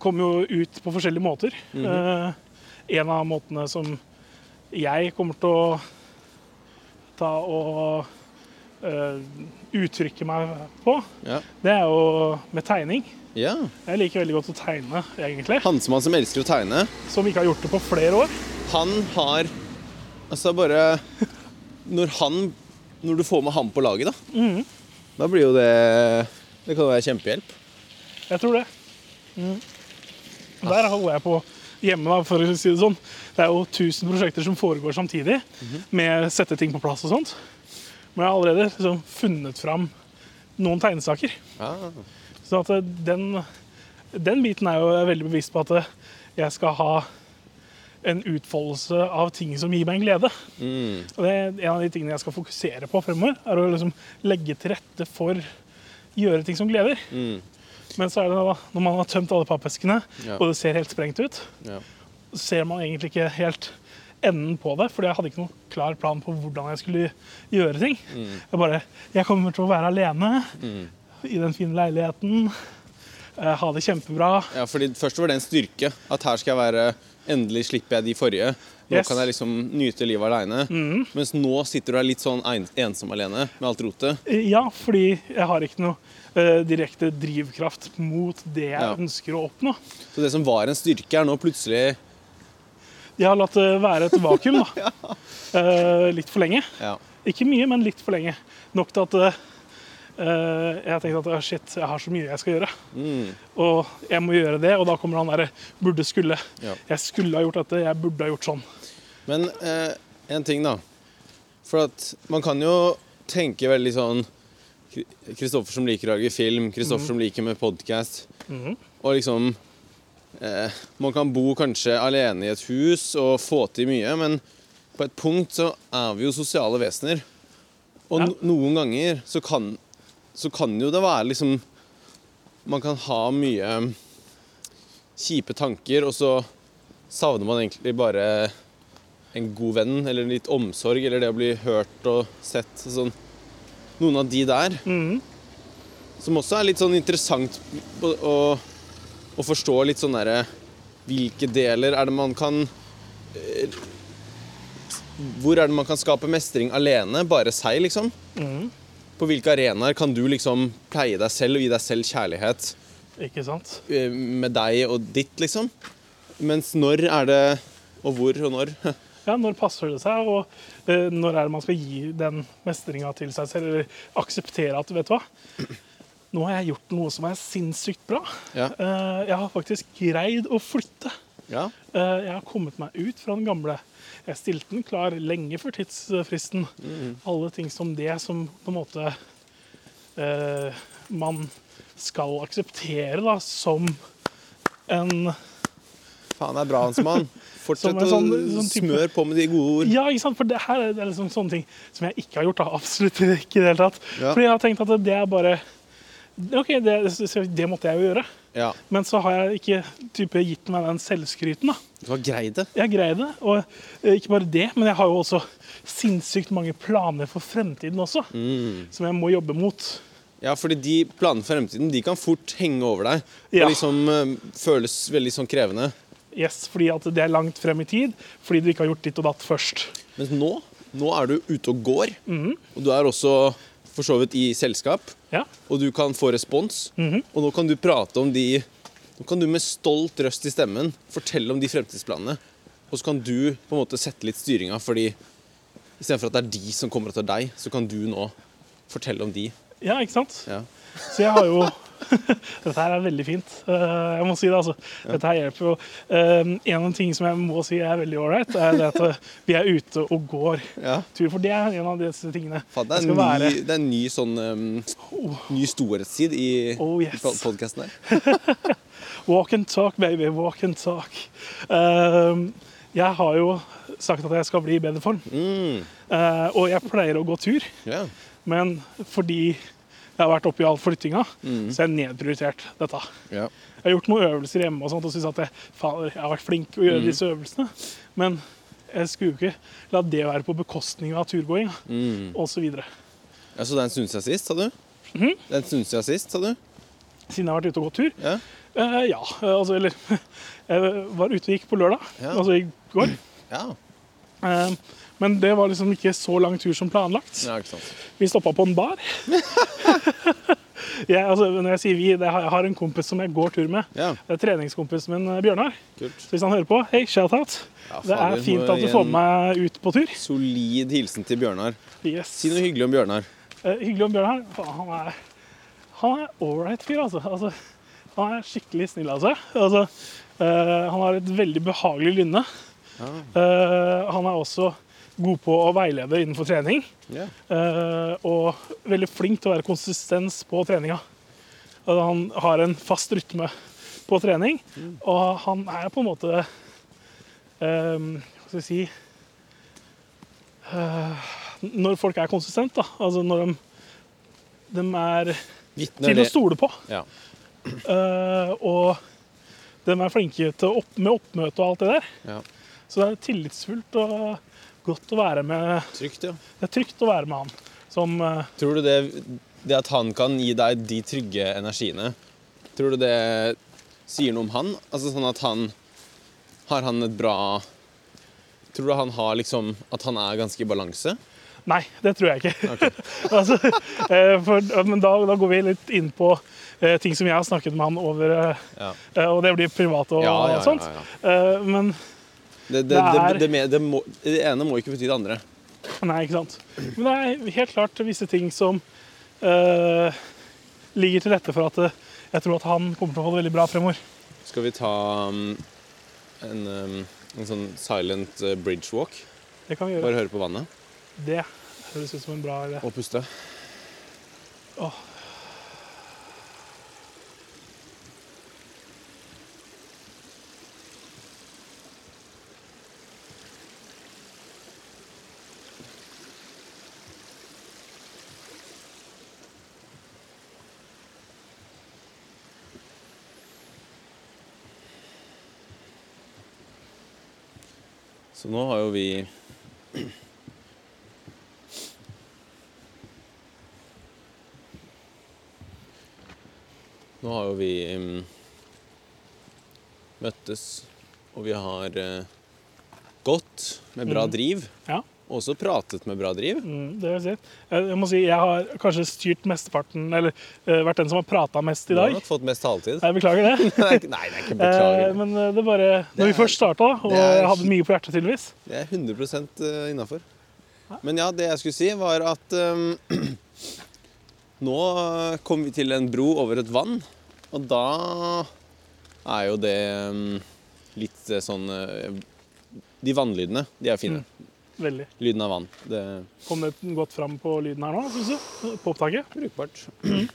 Speaker 2: kommer jo ut på forskjellige måter. Eh, en av måtene som jeg kommer til å ta og eh, uttrykke meg på,
Speaker 1: ja.
Speaker 2: det er jo med tegning.
Speaker 1: ja.
Speaker 2: Jeg liker veldig godt å tegne, egentlig.
Speaker 1: Hansemann som elsker å tegne.
Speaker 2: Som ikke har gjort det på flere år.
Speaker 1: Han har Altså bare Når han Når du får med han på laget, da, da blir jo det Det kan være kjempehjelp.
Speaker 2: Jeg tror det. Mm. Der holder jeg på hjemme, da, for å si det sånn. Det er jo 1000 prosjekter som foregår samtidig, med å sette ting på plass og sånt. Men jeg har allerede liksom funnet fram noen tegnesaker.
Speaker 1: Ja.
Speaker 2: Så at eh, den, den biten er jo jeg veldig bevisst på at eh, jeg skal ha en utfoldelse av ting som gir meg en glede. Og det er en av de tingene jeg skal fokusere på fremover, er å liksom legge til rette for gjøre ting som gleder. Men så er det da, når man har tømt alle pappeskene,
Speaker 1: Ja.
Speaker 2: og det ser helt sprengt ut,
Speaker 1: Ja.
Speaker 2: så ser man egentlig ikke helt enden på det, fordi jeg hadde ikke noen klar plan på hvordan jeg skulle gjøre ting. Jeg bare Jeg kommer til å være alene i den fine leiligheten. eh, Ha det kjempebra.
Speaker 1: ja, fordi Først var det en styrke. At her skal jeg være Endelig slipper jeg de forrige. Nå
Speaker 2: Yes.
Speaker 1: kan jeg liksom nyte livet aleine. Mens nå sitter du her litt sånn ein- ensom alene med alt rotet.
Speaker 2: Eh, Ja, fordi jeg har ikke noe eh, direkte drivkraft mot det jeg
Speaker 1: Ja.
Speaker 2: ønsker å oppnå.
Speaker 1: Så det som var en styrke, er nå plutselig
Speaker 2: Jeg har latt det være et vakuum da. Eh, litt for lenge.
Speaker 1: Ja.
Speaker 2: Ikke mye, men litt for lenge. Nok til at eh, jeg tenkte at «Å, shit, jeg har så mye jeg skal gjøre.
Speaker 1: Mm.
Speaker 2: Og jeg må gjøre det, og da kommer han derre burde skulle.
Speaker 1: Ja.
Speaker 2: Jeg skulle ha gjort dette, jeg burde ha gjort sånn.
Speaker 1: Men eh, en ting, da. For at man kan jo tenke veldig sånn Kri- Kristoffer som liker å lage film, Kristoffer som liker med podkast. Og liksom eh, Man kan bo kanskje alene i et hus og få til mye, men på et punkt så er vi jo sosiale vesener. Og
Speaker 2: Ja.
Speaker 1: no noen ganger så kan, så kan jo det være liksom Man kan ha mye kjipe tanker, og så savner man egentlig bare en god venn, eller litt omsorg, eller det å bli hørt og sett. og Sånn. Noen av de der, som også er litt sånn interessant å, å, å forstå litt sånn derre Hvilke deler er det man kan eh, Hvor er det man kan skape mestring alene, bare seg, liksom? På hvilke arenaer kan du liksom pleie deg selv og gi deg selv kjærlighet?
Speaker 2: Ikke sant?
Speaker 1: eh, med deg og ditt, liksom. Mens når er det Og hvor og når?
Speaker 2: Ja, når passer det seg, og eh, når er det man skal gi den mestringa til seg selv, eller akseptere at, vet du hva Nå har jeg gjort noe som er sinnssykt bra.
Speaker 1: Ja.
Speaker 2: Eh, jeg har faktisk greid å flytte.
Speaker 1: Ja.
Speaker 2: Eh, Jeg har kommet meg ut fra den gamle. Jeg stilte den klar lenge før tidsfristen. Alle ting som det som på en måte eh, man skal akseptere da, som en
Speaker 1: Faen, det er bra, Hansmann. Fortsett
Speaker 2: Som en sånn-
Speaker 1: å
Speaker 2: sånn type-
Speaker 1: smøre på med de gode ord.
Speaker 2: Ja, ikke sant? For det her er- det er liksom sånne ting som jeg ikke har gjort. da, Absolutt ikke i det hele tatt.
Speaker 1: Ja.
Speaker 2: Fordi jeg har tenkt at det er bare OK, det, det måtte jeg jo gjøre.
Speaker 1: Ja.
Speaker 2: Men så har jeg ikke type, gitt meg den selvskryten. da.
Speaker 1: Du har greid det.
Speaker 2: Jeg greier det, og eh, ikke bare det, men jeg har jo også sinnssykt mange planer for fremtiden også,
Speaker 1: Mm.
Speaker 2: som jeg må jobbe mot.
Speaker 1: Ja, fordi de planene for fremtiden de kan fort henge over deg.
Speaker 2: Ja.
Speaker 1: Og liksom eh, føles veldig sånn krevende.
Speaker 2: Yes, fordi at det er langt frem i tid, fordi du ikke har gjort ditt og datt først.
Speaker 1: Mens nå, nå er du ute og går.
Speaker 2: Mhm.
Speaker 1: Og du er også for så vidt i selskap.
Speaker 2: Ja,
Speaker 1: og du kan få respons.
Speaker 2: Mhm.
Speaker 1: Og nå kan du prate om de Nå kan du med stolt røst i stemmen fortelle om de fremtidsplanene. Og så kan du på en måte sette litt styringa, fordi istedenfor at det er de som kommer etter deg, så kan du nå fortelle om de.
Speaker 2: ja ikke sant?
Speaker 1: Ja.
Speaker 2: Så jeg har jo Dette her er veldig fint. eh, Jeg må si det, altså. Dette her hjelper jo. Eh, En av de tingene som jeg må si er veldig ålreit, er det at eh, vi er ute og går
Speaker 1: Ja.
Speaker 2: tur. For det er en av disse tingene.
Speaker 1: Faen, det, er
Speaker 2: Jeg skal
Speaker 1: en
Speaker 2: være-
Speaker 1: ny, det er en ny sånn um, Ny storhetstid i,
Speaker 2: Oh, yes.
Speaker 1: i pod- podcasten her.
Speaker 2: Walk and talk, baby. Walk and talk. Ehm, jeg har jo sagt at jeg skal bli i
Speaker 1: Mm.
Speaker 2: bedre form. Eh, og jeg pleier å gå tur,
Speaker 1: Ja.
Speaker 2: men fordi Jeg har vært oppi all flyttinga,
Speaker 1: Mm.
Speaker 2: så jeg har nedprioritert dette.
Speaker 1: Ja.
Speaker 2: Jeg har gjort noen øvelser hjemme og sånt, og synes at jeg, fader, jeg har vært flink å gjøre
Speaker 1: Mm.
Speaker 2: disse øvelsene. Men jeg skulle jo ikke la det være på bekostning av turgåing
Speaker 1: Mm.
Speaker 2: og så videre.
Speaker 1: ja så det er en stund siden sist, sa du?
Speaker 2: Mhm.
Speaker 1: Det er en stund siden sist, sa du?
Speaker 2: Siden jeg har vært ute og gått tur.
Speaker 1: Ja.
Speaker 2: Eh, ja, eh, altså eller Jeg var ute og gikk på lørdag,
Speaker 1: Ja.
Speaker 2: altså i går.
Speaker 1: ja.
Speaker 2: Eh, men det var liksom ikke så lang tur som planlagt.
Speaker 1: Ja, ikke sant.
Speaker 2: Vi stoppa på en bar. jeg, altså, når jeg sier vi, det har, jeg har en kompis som jeg går tur med.
Speaker 1: Ja,
Speaker 2: Det er treningskompisen min eh, Bjørnar.
Speaker 1: kult.
Speaker 2: Så hvis han hører på, hei, shout-out.
Speaker 1: Ja,
Speaker 2: det
Speaker 1: fader,
Speaker 2: er fint
Speaker 1: må
Speaker 2: at du
Speaker 1: gi
Speaker 2: får
Speaker 1: en
Speaker 2: meg ut på tur.
Speaker 1: Solid hilsen til Bjørnar.
Speaker 2: Yes.
Speaker 1: Si noe hyggelig om Bjørnar.
Speaker 2: Eh, hyggelig om Bjørnar. Faen, Han er, han er ålreit fyr, altså. altså. Han er skikkelig snill av seg. Altså, eh, han har et veldig behagelig lynne.
Speaker 1: Ja.
Speaker 2: Eh, han er også god på å veilede innenfor trening,
Speaker 1: Ja.
Speaker 2: eh, og veldig flink til å være konsistens på treninga. Altså, han har en fast rytme på trening, og han er på en måte eh, Hva skal jeg si eh, Når folk er konsistent, da, altså når de, de er
Speaker 1: Vitner
Speaker 2: til å
Speaker 1: det.
Speaker 2: stole på,
Speaker 1: Ja.
Speaker 2: eh, og de er flinke til opp, med oppmøte og alt det der,
Speaker 1: ja.
Speaker 2: så det er tillitsfullt og godt å være med
Speaker 1: Trygt, ja.
Speaker 2: Det er trygt å være med han. Som eh,
Speaker 1: Tror du det, det at han kan gi deg de trygge energiene, tror du det sier noe om han? Altså sånn at han Har han et bra Tror du han har liksom At han er ganske i balanse?
Speaker 2: Nei, det tror jeg ikke.
Speaker 1: Ok.
Speaker 2: altså, eh, for, men da, da går vi litt inn på eh, ting som jeg har snakket med han over, eh,
Speaker 1: Ja.
Speaker 2: og det blir privat og,
Speaker 1: Ja, ja,
Speaker 2: og sånt.
Speaker 1: ja, ja.
Speaker 2: Eh, men
Speaker 1: Det, det,
Speaker 2: Det
Speaker 1: det,
Speaker 2: er-
Speaker 1: det, me- det, må, det ene må ikke bety det andre.
Speaker 2: Nei, ikke sant. Men det er helt klart visse ting som eh, ligger til rette for at eh, jeg tror at han kommer til å holde veldig bra fremover.
Speaker 1: Skal vi ta um, en, um, en sånn silent uh, bridge walk?
Speaker 2: Det kan vi gjøre.
Speaker 1: Bare høre på vannet
Speaker 2: Det høres ut som en bra idé.
Speaker 1: og puste.
Speaker 2: Åh.
Speaker 1: Så nå har jo vi Nå har jo vi mm, møttes, og vi har eh, gått med bra
Speaker 2: Mhm.
Speaker 1: driv.
Speaker 2: Ja.
Speaker 1: Og også pratet med bra driv.
Speaker 2: Mm, det vil si. Jeg, jeg må si jeg har kanskje styrt mesteparten, eller eh, vært den som har prata mest i
Speaker 1: Du har
Speaker 2: dag.
Speaker 1: nok fått mest taletid.
Speaker 2: Jeg beklager det.
Speaker 1: Nei, det er ikke- nei, det er ikke
Speaker 2: Eh,
Speaker 1: beklager.
Speaker 2: men eh, det er bare Når
Speaker 1: er-
Speaker 2: vi først starta, og
Speaker 1: det er-
Speaker 2: jeg hadde mye på hjertet tydeligvis
Speaker 1: Det er 100 innafor. Men ja, det jeg skulle si, var at um, Nå kom vi til en bro over et vann, og da er jo det um, litt eh, sånn eh, De vannlydene, de er
Speaker 2: Mm.
Speaker 1: fine.
Speaker 2: Veldig.
Speaker 1: Lyden av vann. Det er
Speaker 2: Kom det godt fram på lyden her nå, syns du? På opptaket?
Speaker 1: brukbart.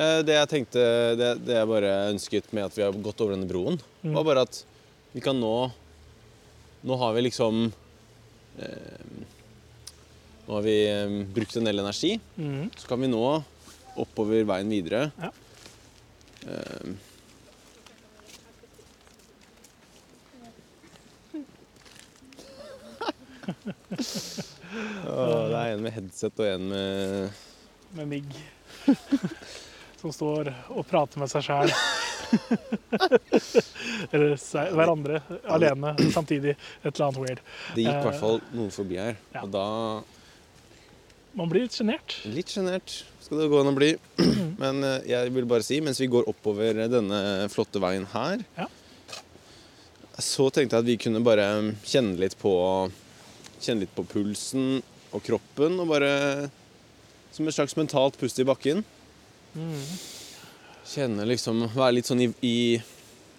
Speaker 1: Eh, Det jeg tenkte, det, det jeg bare ønsket med at vi har gått over denne broen, var bare at vi kan nå Nå har vi liksom eh, Nå har vi eh, brukt en del energi.
Speaker 2: Mhm.
Speaker 1: Så kan vi nå oppover veien videre.
Speaker 2: Ja.
Speaker 1: Eh, Åh, det er en med headset og en med
Speaker 2: Med migg. som står og prater med seg sjæl. eller seg, hverandre alene samtidig. Et eller annet weird.
Speaker 1: Det gikk i
Speaker 2: Eh,
Speaker 1: hvert fall noen forbi her.
Speaker 2: ja.
Speaker 1: Og da
Speaker 2: Man blir litt sjenert.
Speaker 1: Litt sjenert skal det gå an å bli. Men eh, jeg vil bare si, mens vi går oppover denne flotte veien her,
Speaker 2: Ja.
Speaker 1: så tenkte jeg at vi kunne bare kjenne litt på Kjenne litt på pulsen og kroppen, og bare som et slags mentalt pust i bakken. Kjenne liksom Være litt sånn i, i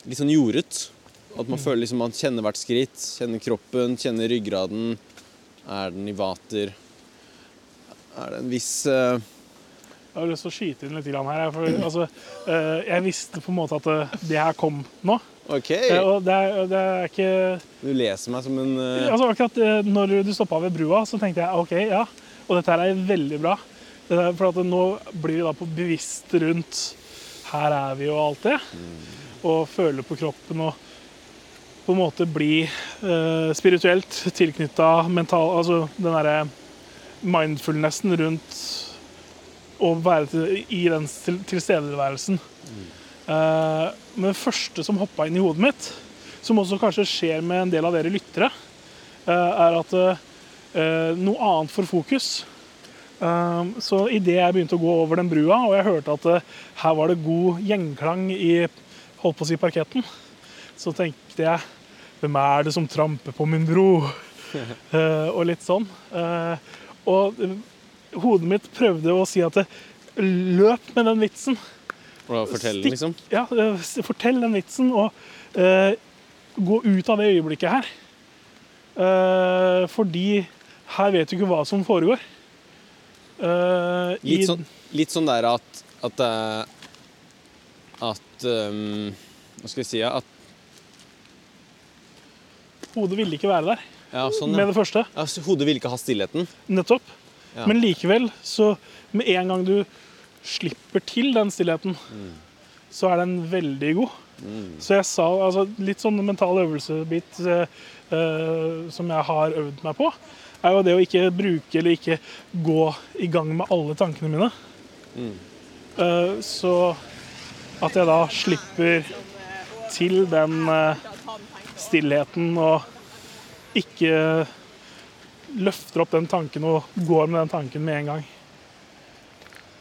Speaker 1: Litt sånn jordet. At man føler liksom man kjenner hvert skritt. Kjenner kroppen, kjenner ryggraden. Er den i vater? Er det en viss eh,
Speaker 2: Jeg har lyst til å skyte inn litt grann her. jeg, For, altså, eh, jeg visste på en måte at eh, det her kom nå.
Speaker 1: OK!
Speaker 2: Eh, Og det er, det er ikke
Speaker 1: Du leser meg som en eh,
Speaker 2: Altså Akkurat eh, når du stoppa ved brua, så tenkte jeg OK, ja. Og dette her er veldig bra. Eh, For at nå blir vi da på bevisst rundt her er vi og alt det. Og føler på kroppen og på en måte bli eh, spirituelt tilknytta mental Altså den derre mindfulnessen rundt å være til, i den til, tilstedeværelsen. Eh, men det første som hoppa inn i hodet mitt, som også kanskje skjer med en del av dere lyttere, eh, er at eh, noe annet får fokus. Um, så idet jeg begynte å gå over den brua, og jeg hørte at eh, her var det god gjengklang i holdt på å si parketten, så tenkte jeg Hvem er det som tramper på min bro? Eh, og litt sånn. Eh, og eh, hodet mitt prøvde å si at eh, løp med den vitsen.
Speaker 1: Og fortelle,
Speaker 2: altså, Stikk-
Speaker 1: liksom.
Speaker 2: Ja, eh, s- fortell den vitsen, og eh, gå ut av det øyeblikket her. Eh, fordi her vet du ikke hva som foregår. Eh, i-
Speaker 1: Litt sånn, litt sånn der at At, eh, at ehm, Hva skal jeg si? ja, At,
Speaker 2: Hodet ville ikke være der
Speaker 1: ja, sånn,
Speaker 2: med
Speaker 1: ja.
Speaker 2: det første.
Speaker 1: Ja, så hodet vil ikke ha stillheten.
Speaker 2: Nettopp.
Speaker 1: Ja.
Speaker 2: Men likevel, så med en gang du slipper til den stillheten, så er den veldig god. Så jeg sa altså, Litt sånn mental øvelsebit eh, eh, som jeg har øvd meg på, er jo det å ikke bruke eller ikke gå i gang med alle tankene mine. Eh, så at jeg da slipper til den eh, stillheten og ikke løfter opp den tanken og går med den tanken med en gang.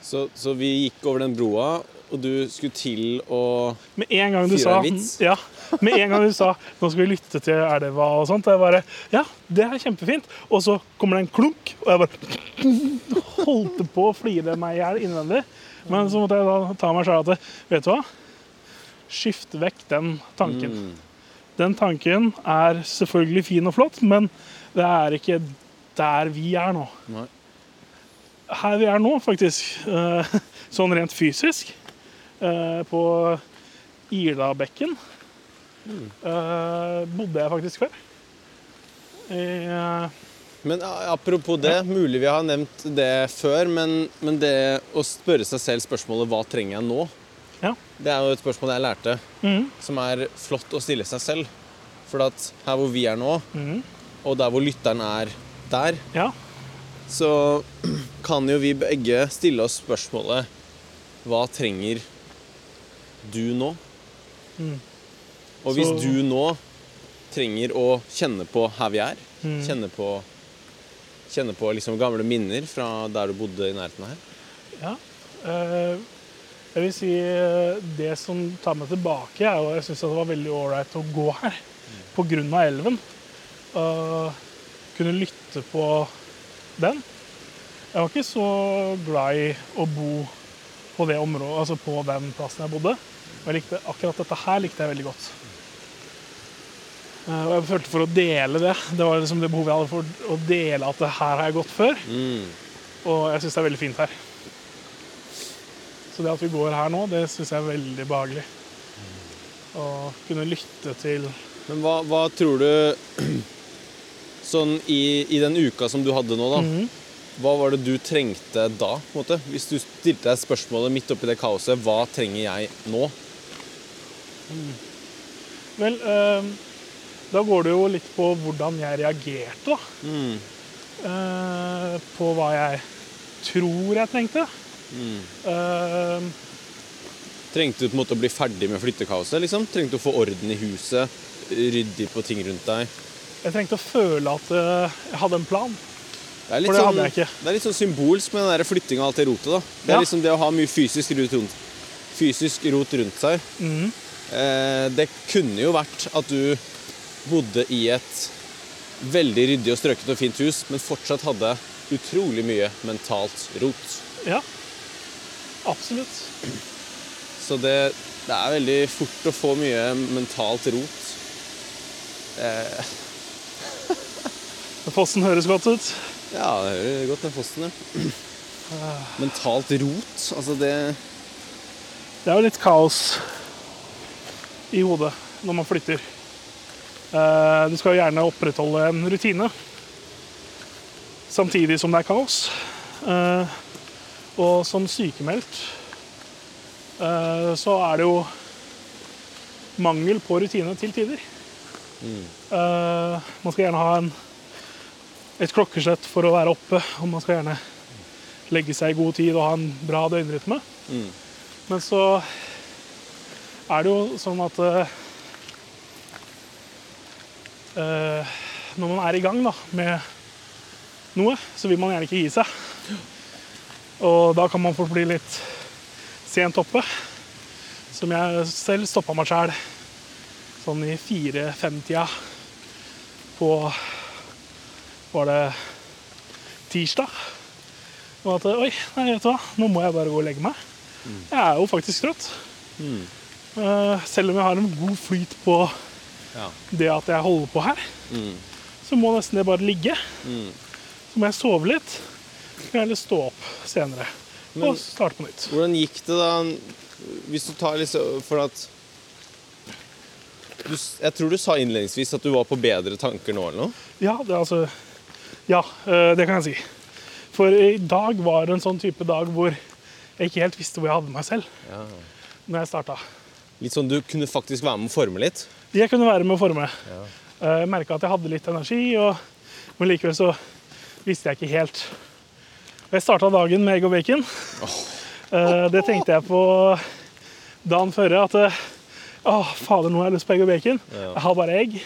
Speaker 1: Så, så vi gikk over den broa, og du skulle til å
Speaker 2: Med en gang du
Speaker 1: Fyrer
Speaker 2: sa
Speaker 1: en vits.
Speaker 2: ja, Med en gang du sa 'nå skal vi lytte til elva' og sånt, jeg bare Ja, det er kjempefint. Og så kommer det en klunk, og jeg bare holdt på å flire meg i hjel innvendig. Men så måtte jeg da ta meg sjøl at Vet du hva? Skift vekk den tanken.
Speaker 1: Mm.
Speaker 2: Den tanken er selvfølgelig fin og flott, men det er ikke der vi er nå.
Speaker 1: Nei.
Speaker 2: Her vi er nå, faktisk, eh, sånn rent fysisk, eh, på Ilabekken eh, bodde jeg faktisk før. Eh,
Speaker 1: Men a- apropos det, mulig vi har nevnt det før, men, men det å spørre seg selv spørsmålet 'hva trenger jeg nå?'
Speaker 2: ja.
Speaker 1: Det er jo et spørsmål jeg lærte,
Speaker 2: Mhm.
Speaker 1: som er flott å stille seg selv. For at her hvor vi er nå,
Speaker 2: Mhm.
Speaker 1: og der hvor lytteren er der,
Speaker 2: ja.
Speaker 1: så kan jo vi begge stille oss spørsmålet Hva trenger du nå? Og hvis
Speaker 2: Mhm. Så-
Speaker 1: du nå trenger å kjenne på her vi er,
Speaker 2: Mhm.
Speaker 1: kjenne på Kjenne på liksom gamle minner fra der du bodde i nærheten av her.
Speaker 2: ja. Eh, jeg vil si eh, det som tar meg tilbake, er jo jeg syns det var veldig ålreit å gå her. På grunn av elven. Eh, kunne lytte på den. Jeg var ikke så glad i å bo på det området, altså på den plassen jeg bodde. Men jeg likte, akkurat dette her likte jeg veldig godt. Eh, Og jeg følte for å dele det. Det var liksom det behovet jeg hadde for å dele at det her har jeg gått før. Og jeg syns det er veldig fint her. Så det at vi går her nå, det syns jeg er veldig behagelig. Å kunne lytte til
Speaker 1: Men hva, hva tror du Sånn i, i den uka som du hadde nå, da. Hva var det du trengte da? på en måte? Hvis du stilte deg spørsmålet midt oppi det kaoset Hva trenger jeg nå?
Speaker 2: Vel, eh, da går det jo litt på hvordan jeg reagerte, da. Eh, på hva jeg tror jeg trengte. Eh,
Speaker 1: Trengte du på en måte å bli ferdig med flyttekaoset? liksom? Trengte du å få orden i huset? Ryddig på ting rundt deg?
Speaker 2: jeg trengte å føle at eh, jeg hadde en plan.
Speaker 1: Det er litt,
Speaker 2: For det
Speaker 1: sånn,
Speaker 2: hadde jeg ikke.
Speaker 1: Det er litt sånn symbolsk med den der flyttinga og alt det rotet. da. Det er
Speaker 2: Ja.
Speaker 1: liksom det å ha mye fysisk rot rundt, fysisk rot rundt seg.
Speaker 2: Mhm.
Speaker 1: Eh, det kunne jo vært at du bodde i et veldig ryddig og strøket og fint hus, men fortsatt hadde utrolig mye mentalt rot.
Speaker 2: Ja. Absolutt.
Speaker 1: Så det, det er veldig fort å få mye mentalt rot.
Speaker 2: Fossen høres godt ut.
Speaker 1: Ja, det hører godt den fossen, ja. Mentalt rot, altså det
Speaker 2: Det er jo litt kaos i hodet når man flytter. Eh, Du skal jo gjerne opprettholde en rutine samtidig som det er kaos. Eh, Og som sykemeldt eh, så er det jo mangel på rutine til tider. Eh, man skal gjerne ha en, et klokkeslett for å være oppe, og man skal gjerne legge seg i god tid og ha en bra døgnrytme.
Speaker 1: Mm.
Speaker 2: Men så er det jo sånn at eh, eh, Når man er i gang da, med noe, så vil man gjerne ikke gi seg. Og da kan man fort bli litt sent oppe. Som jeg selv stoppa meg sjæl sånn i fire-fem-tida på Var det tirsdag? Og at Oi, nei, vet du hva, nå må jeg bare gå og legge meg. Jeg er jo faktisk trøtt.
Speaker 1: Mm.
Speaker 2: Eh, Selv om jeg har en god flyt på
Speaker 1: Ja.
Speaker 2: det at jeg holder på her,
Speaker 1: Mm.
Speaker 2: så må nesten det bare ligge.
Speaker 1: Mm.
Speaker 2: Så må jeg sove litt. Så kan jeg heller stå opp senere
Speaker 1: Men-
Speaker 2: og starte på nytt.
Speaker 1: Hvordan gikk det da Hvis du tar liksom For at du, s- Jeg tror du sa innledningsvis at du var på bedre tanker nå eller noe?
Speaker 2: Ja, det er altså Ja, eh, det kan jeg si. For i dag var en sånn type dag hvor jeg ikke helt visste hvor jeg hadde meg selv når jeg starta.
Speaker 1: Litt sånn du kunne faktisk være med å forme litt?
Speaker 2: Jeg kunne være med å forme. Eh, Jeg merka at jeg hadde litt energi, og, men likevel så visste jeg ikke helt. Og Jeg starta dagen med egg og bacon. Eh, Det tenkte jeg på dagen før. At eh, å, fader, nå har jeg lyst på egg og bacon.
Speaker 1: Ja.
Speaker 2: Jeg har bare egg.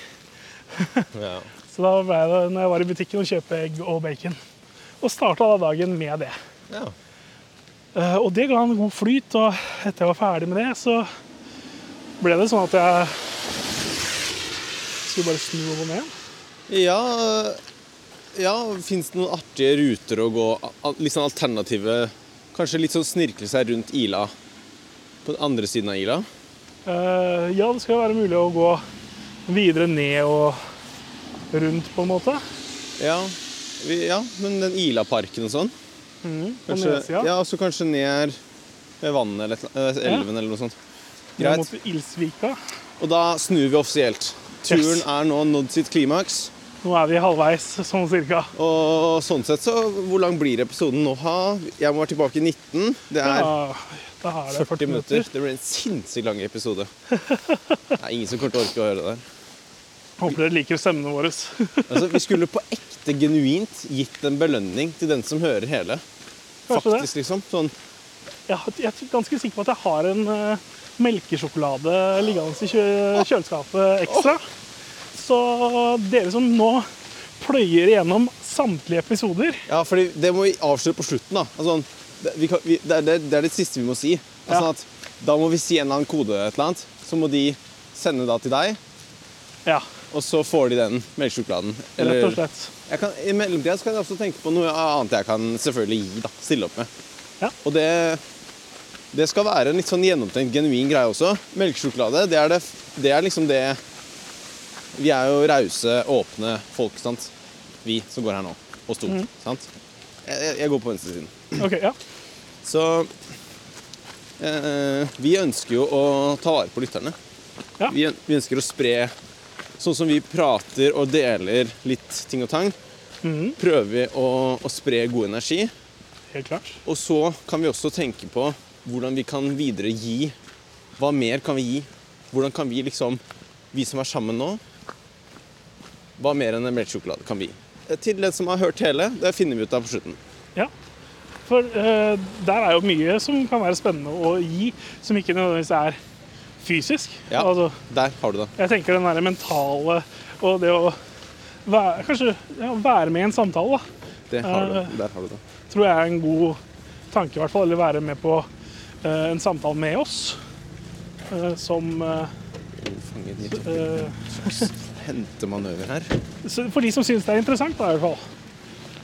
Speaker 1: Ja.
Speaker 2: Så da ble det når jeg var i butikken og kjøpte egg og bacon. Og starta da dagen med det.
Speaker 1: ja.
Speaker 2: Eh, Og det ga en god flyt, og etter jeg var ferdig med det, så ble det sånn at jeg skulle bare snu og gå ned igjen.
Speaker 1: Ja, eh, ja Fins det noen artige ruter å gå? Al- Litt sånn alternative Kanskje litt sånn snirkle seg rundt Ila? På den andre siden av Ila?
Speaker 2: Eh, ja, det skal være mulig å gå videre ned og rundt, på en måte.
Speaker 1: Ja, vi, ja men den Ila-parken og sånn?
Speaker 2: På
Speaker 1: Kanskje,
Speaker 2: nedsida.
Speaker 1: ja, så kanskje ned ved vannet eller et eller annet- eh,
Speaker 2: Ja.
Speaker 1: elven eller noe sånt.
Speaker 2: ned
Speaker 1: Greit.
Speaker 2: mot Ilsvika.
Speaker 1: Og da snur vi offisielt. Turen
Speaker 2: Yes.
Speaker 1: er nå nådd sitt klimaks.
Speaker 2: Nå er vi halvveis, sånn cirka.
Speaker 1: Og sånn sett så Hvor lang blir episoden nå? Ha? Jeg må være tilbake i 19. Det er
Speaker 2: Ja, da er det
Speaker 1: 40, minutter. Det blir en sinnssykt lang episode. Det er ingen som kommer til å orke å høre det der.
Speaker 2: Håper dere liker stemmene våre.
Speaker 1: Altså, vi skulle på ekte, genuint gitt en belønning til den som hører hele.
Speaker 2: Kanskje det.
Speaker 1: Faktisk, liksom. Sånn
Speaker 2: Jeg har- jeg er ganske sikker på at jeg har en eh, melkesjokolade liggende i kjø kjøleskapet ekstra. Så dere som nå pløyer igjennom samtlige episoder
Speaker 1: Ja, fordi det må vi avsløre på slutten. da. Altså, sånn, det, vi kan, vi, det, er- det, er- det er det siste vi må si. Altså,
Speaker 2: Ja.
Speaker 1: sånn at, da må vi si en eller annen kode, et eller annet, så må de sende da til deg,
Speaker 2: Ja,
Speaker 1: og så får de den melkesjokoladen.
Speaker 2: rett og slett.
Speaker 1: Jeg kan, I mellomtida så kan jeg også tenke på noe annet jeg kan selvfølgelig gi, da, stille opp med.
Speaker 2: Ja.
Speaker 1: Og det, det skal være en litt sånn gjennomtenkt, genuin greie også. Melkesjokolade, det er, det, det er liksom det Vi er jo rause, åpne folk, sant. Vi som går her nå, og stort.
Speaker 2: Mhm.
Speaker 1: Sant? Jeg, jeg- jeg går på venstresiden.
Speaker 2: Ok, ja.
Speaker 1: Så eh, Vi ønsker jo å ta vare på lytterne.
Speaker 2: Ja.
Speaker 1: Vi, øn- vi ønsker å spre Sånn som vi prater og deler litt ting og tang,
Speaker 2: Mhm.
Speaker 1: prøver vi å, å spre god energi.
Speaker 2: Helt klart.
Speaker 1: Og så kan vi også tenke på hvordan vi kan videre gi. Hva mer kan vi gi? Hvordan kan vi liksom Vi som er sammen nå Hva mer enn en melkesjokolade kan vi gi? Eh, Til den som har hørt hele, det finner vi ut av på slutten.
Speaker 2: Ja. For eh, der er jo mye som kan være spennende å gi, som ikke nødvendigvis er fysisk.
Speaker 1: Ja,
Speaker 2: Altså,
Speaker 1: Der har du det.
Speaker 2: jeg tenker den der mentale og det å være, kanskje ja, være med i en samtale, da,
Speaker 1: det, har du det.
Speaker 2: Eh,
Speaker 1: Der har du det.
Speaker 2: tror jeg er en god tanke, i hvert fall. Eller være med på eh, en samtale med oss. eh, som eh,
Speaker 1: Oh, fanget mitt opp i-
Speaker 2: eh,
Speaker 1: hentemanøver her.
Speaker 2: så For de som syns det er interessant, da, i hvert fall.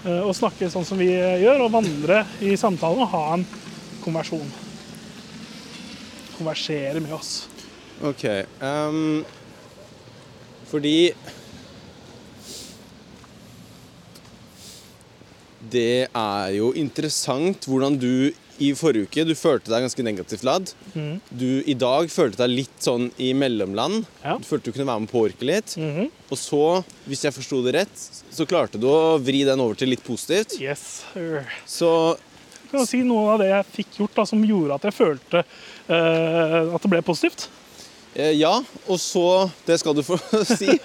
Speaker 2: eh, å snakke sånn som vi gjør, og vandre i samtalen og ha en konversjon. Konversere med oss.
Speaker 1: Ok. ehm, fordi Det er jo interessant hvordan du i forrige uke du følte deg ganske negativt ladd. Du i dag følte deg litt sånn i mellomland.
Speaker 2: Ja.
Speaker 1: Du følte du kunne være med og påvirke litt. Og så, hvis jeg forsto det rett, så klarte du å vri den over til litt positivt.
Speaker 2: Yes, sir.
Speaker 1: Så
Speaker 2: Kan jeg si noe av det jeg fikk gjort da, som gjorde at jeg følte eh, at det ble positivt?
Speaker 1: Eh, ja, og så Det skal du få si.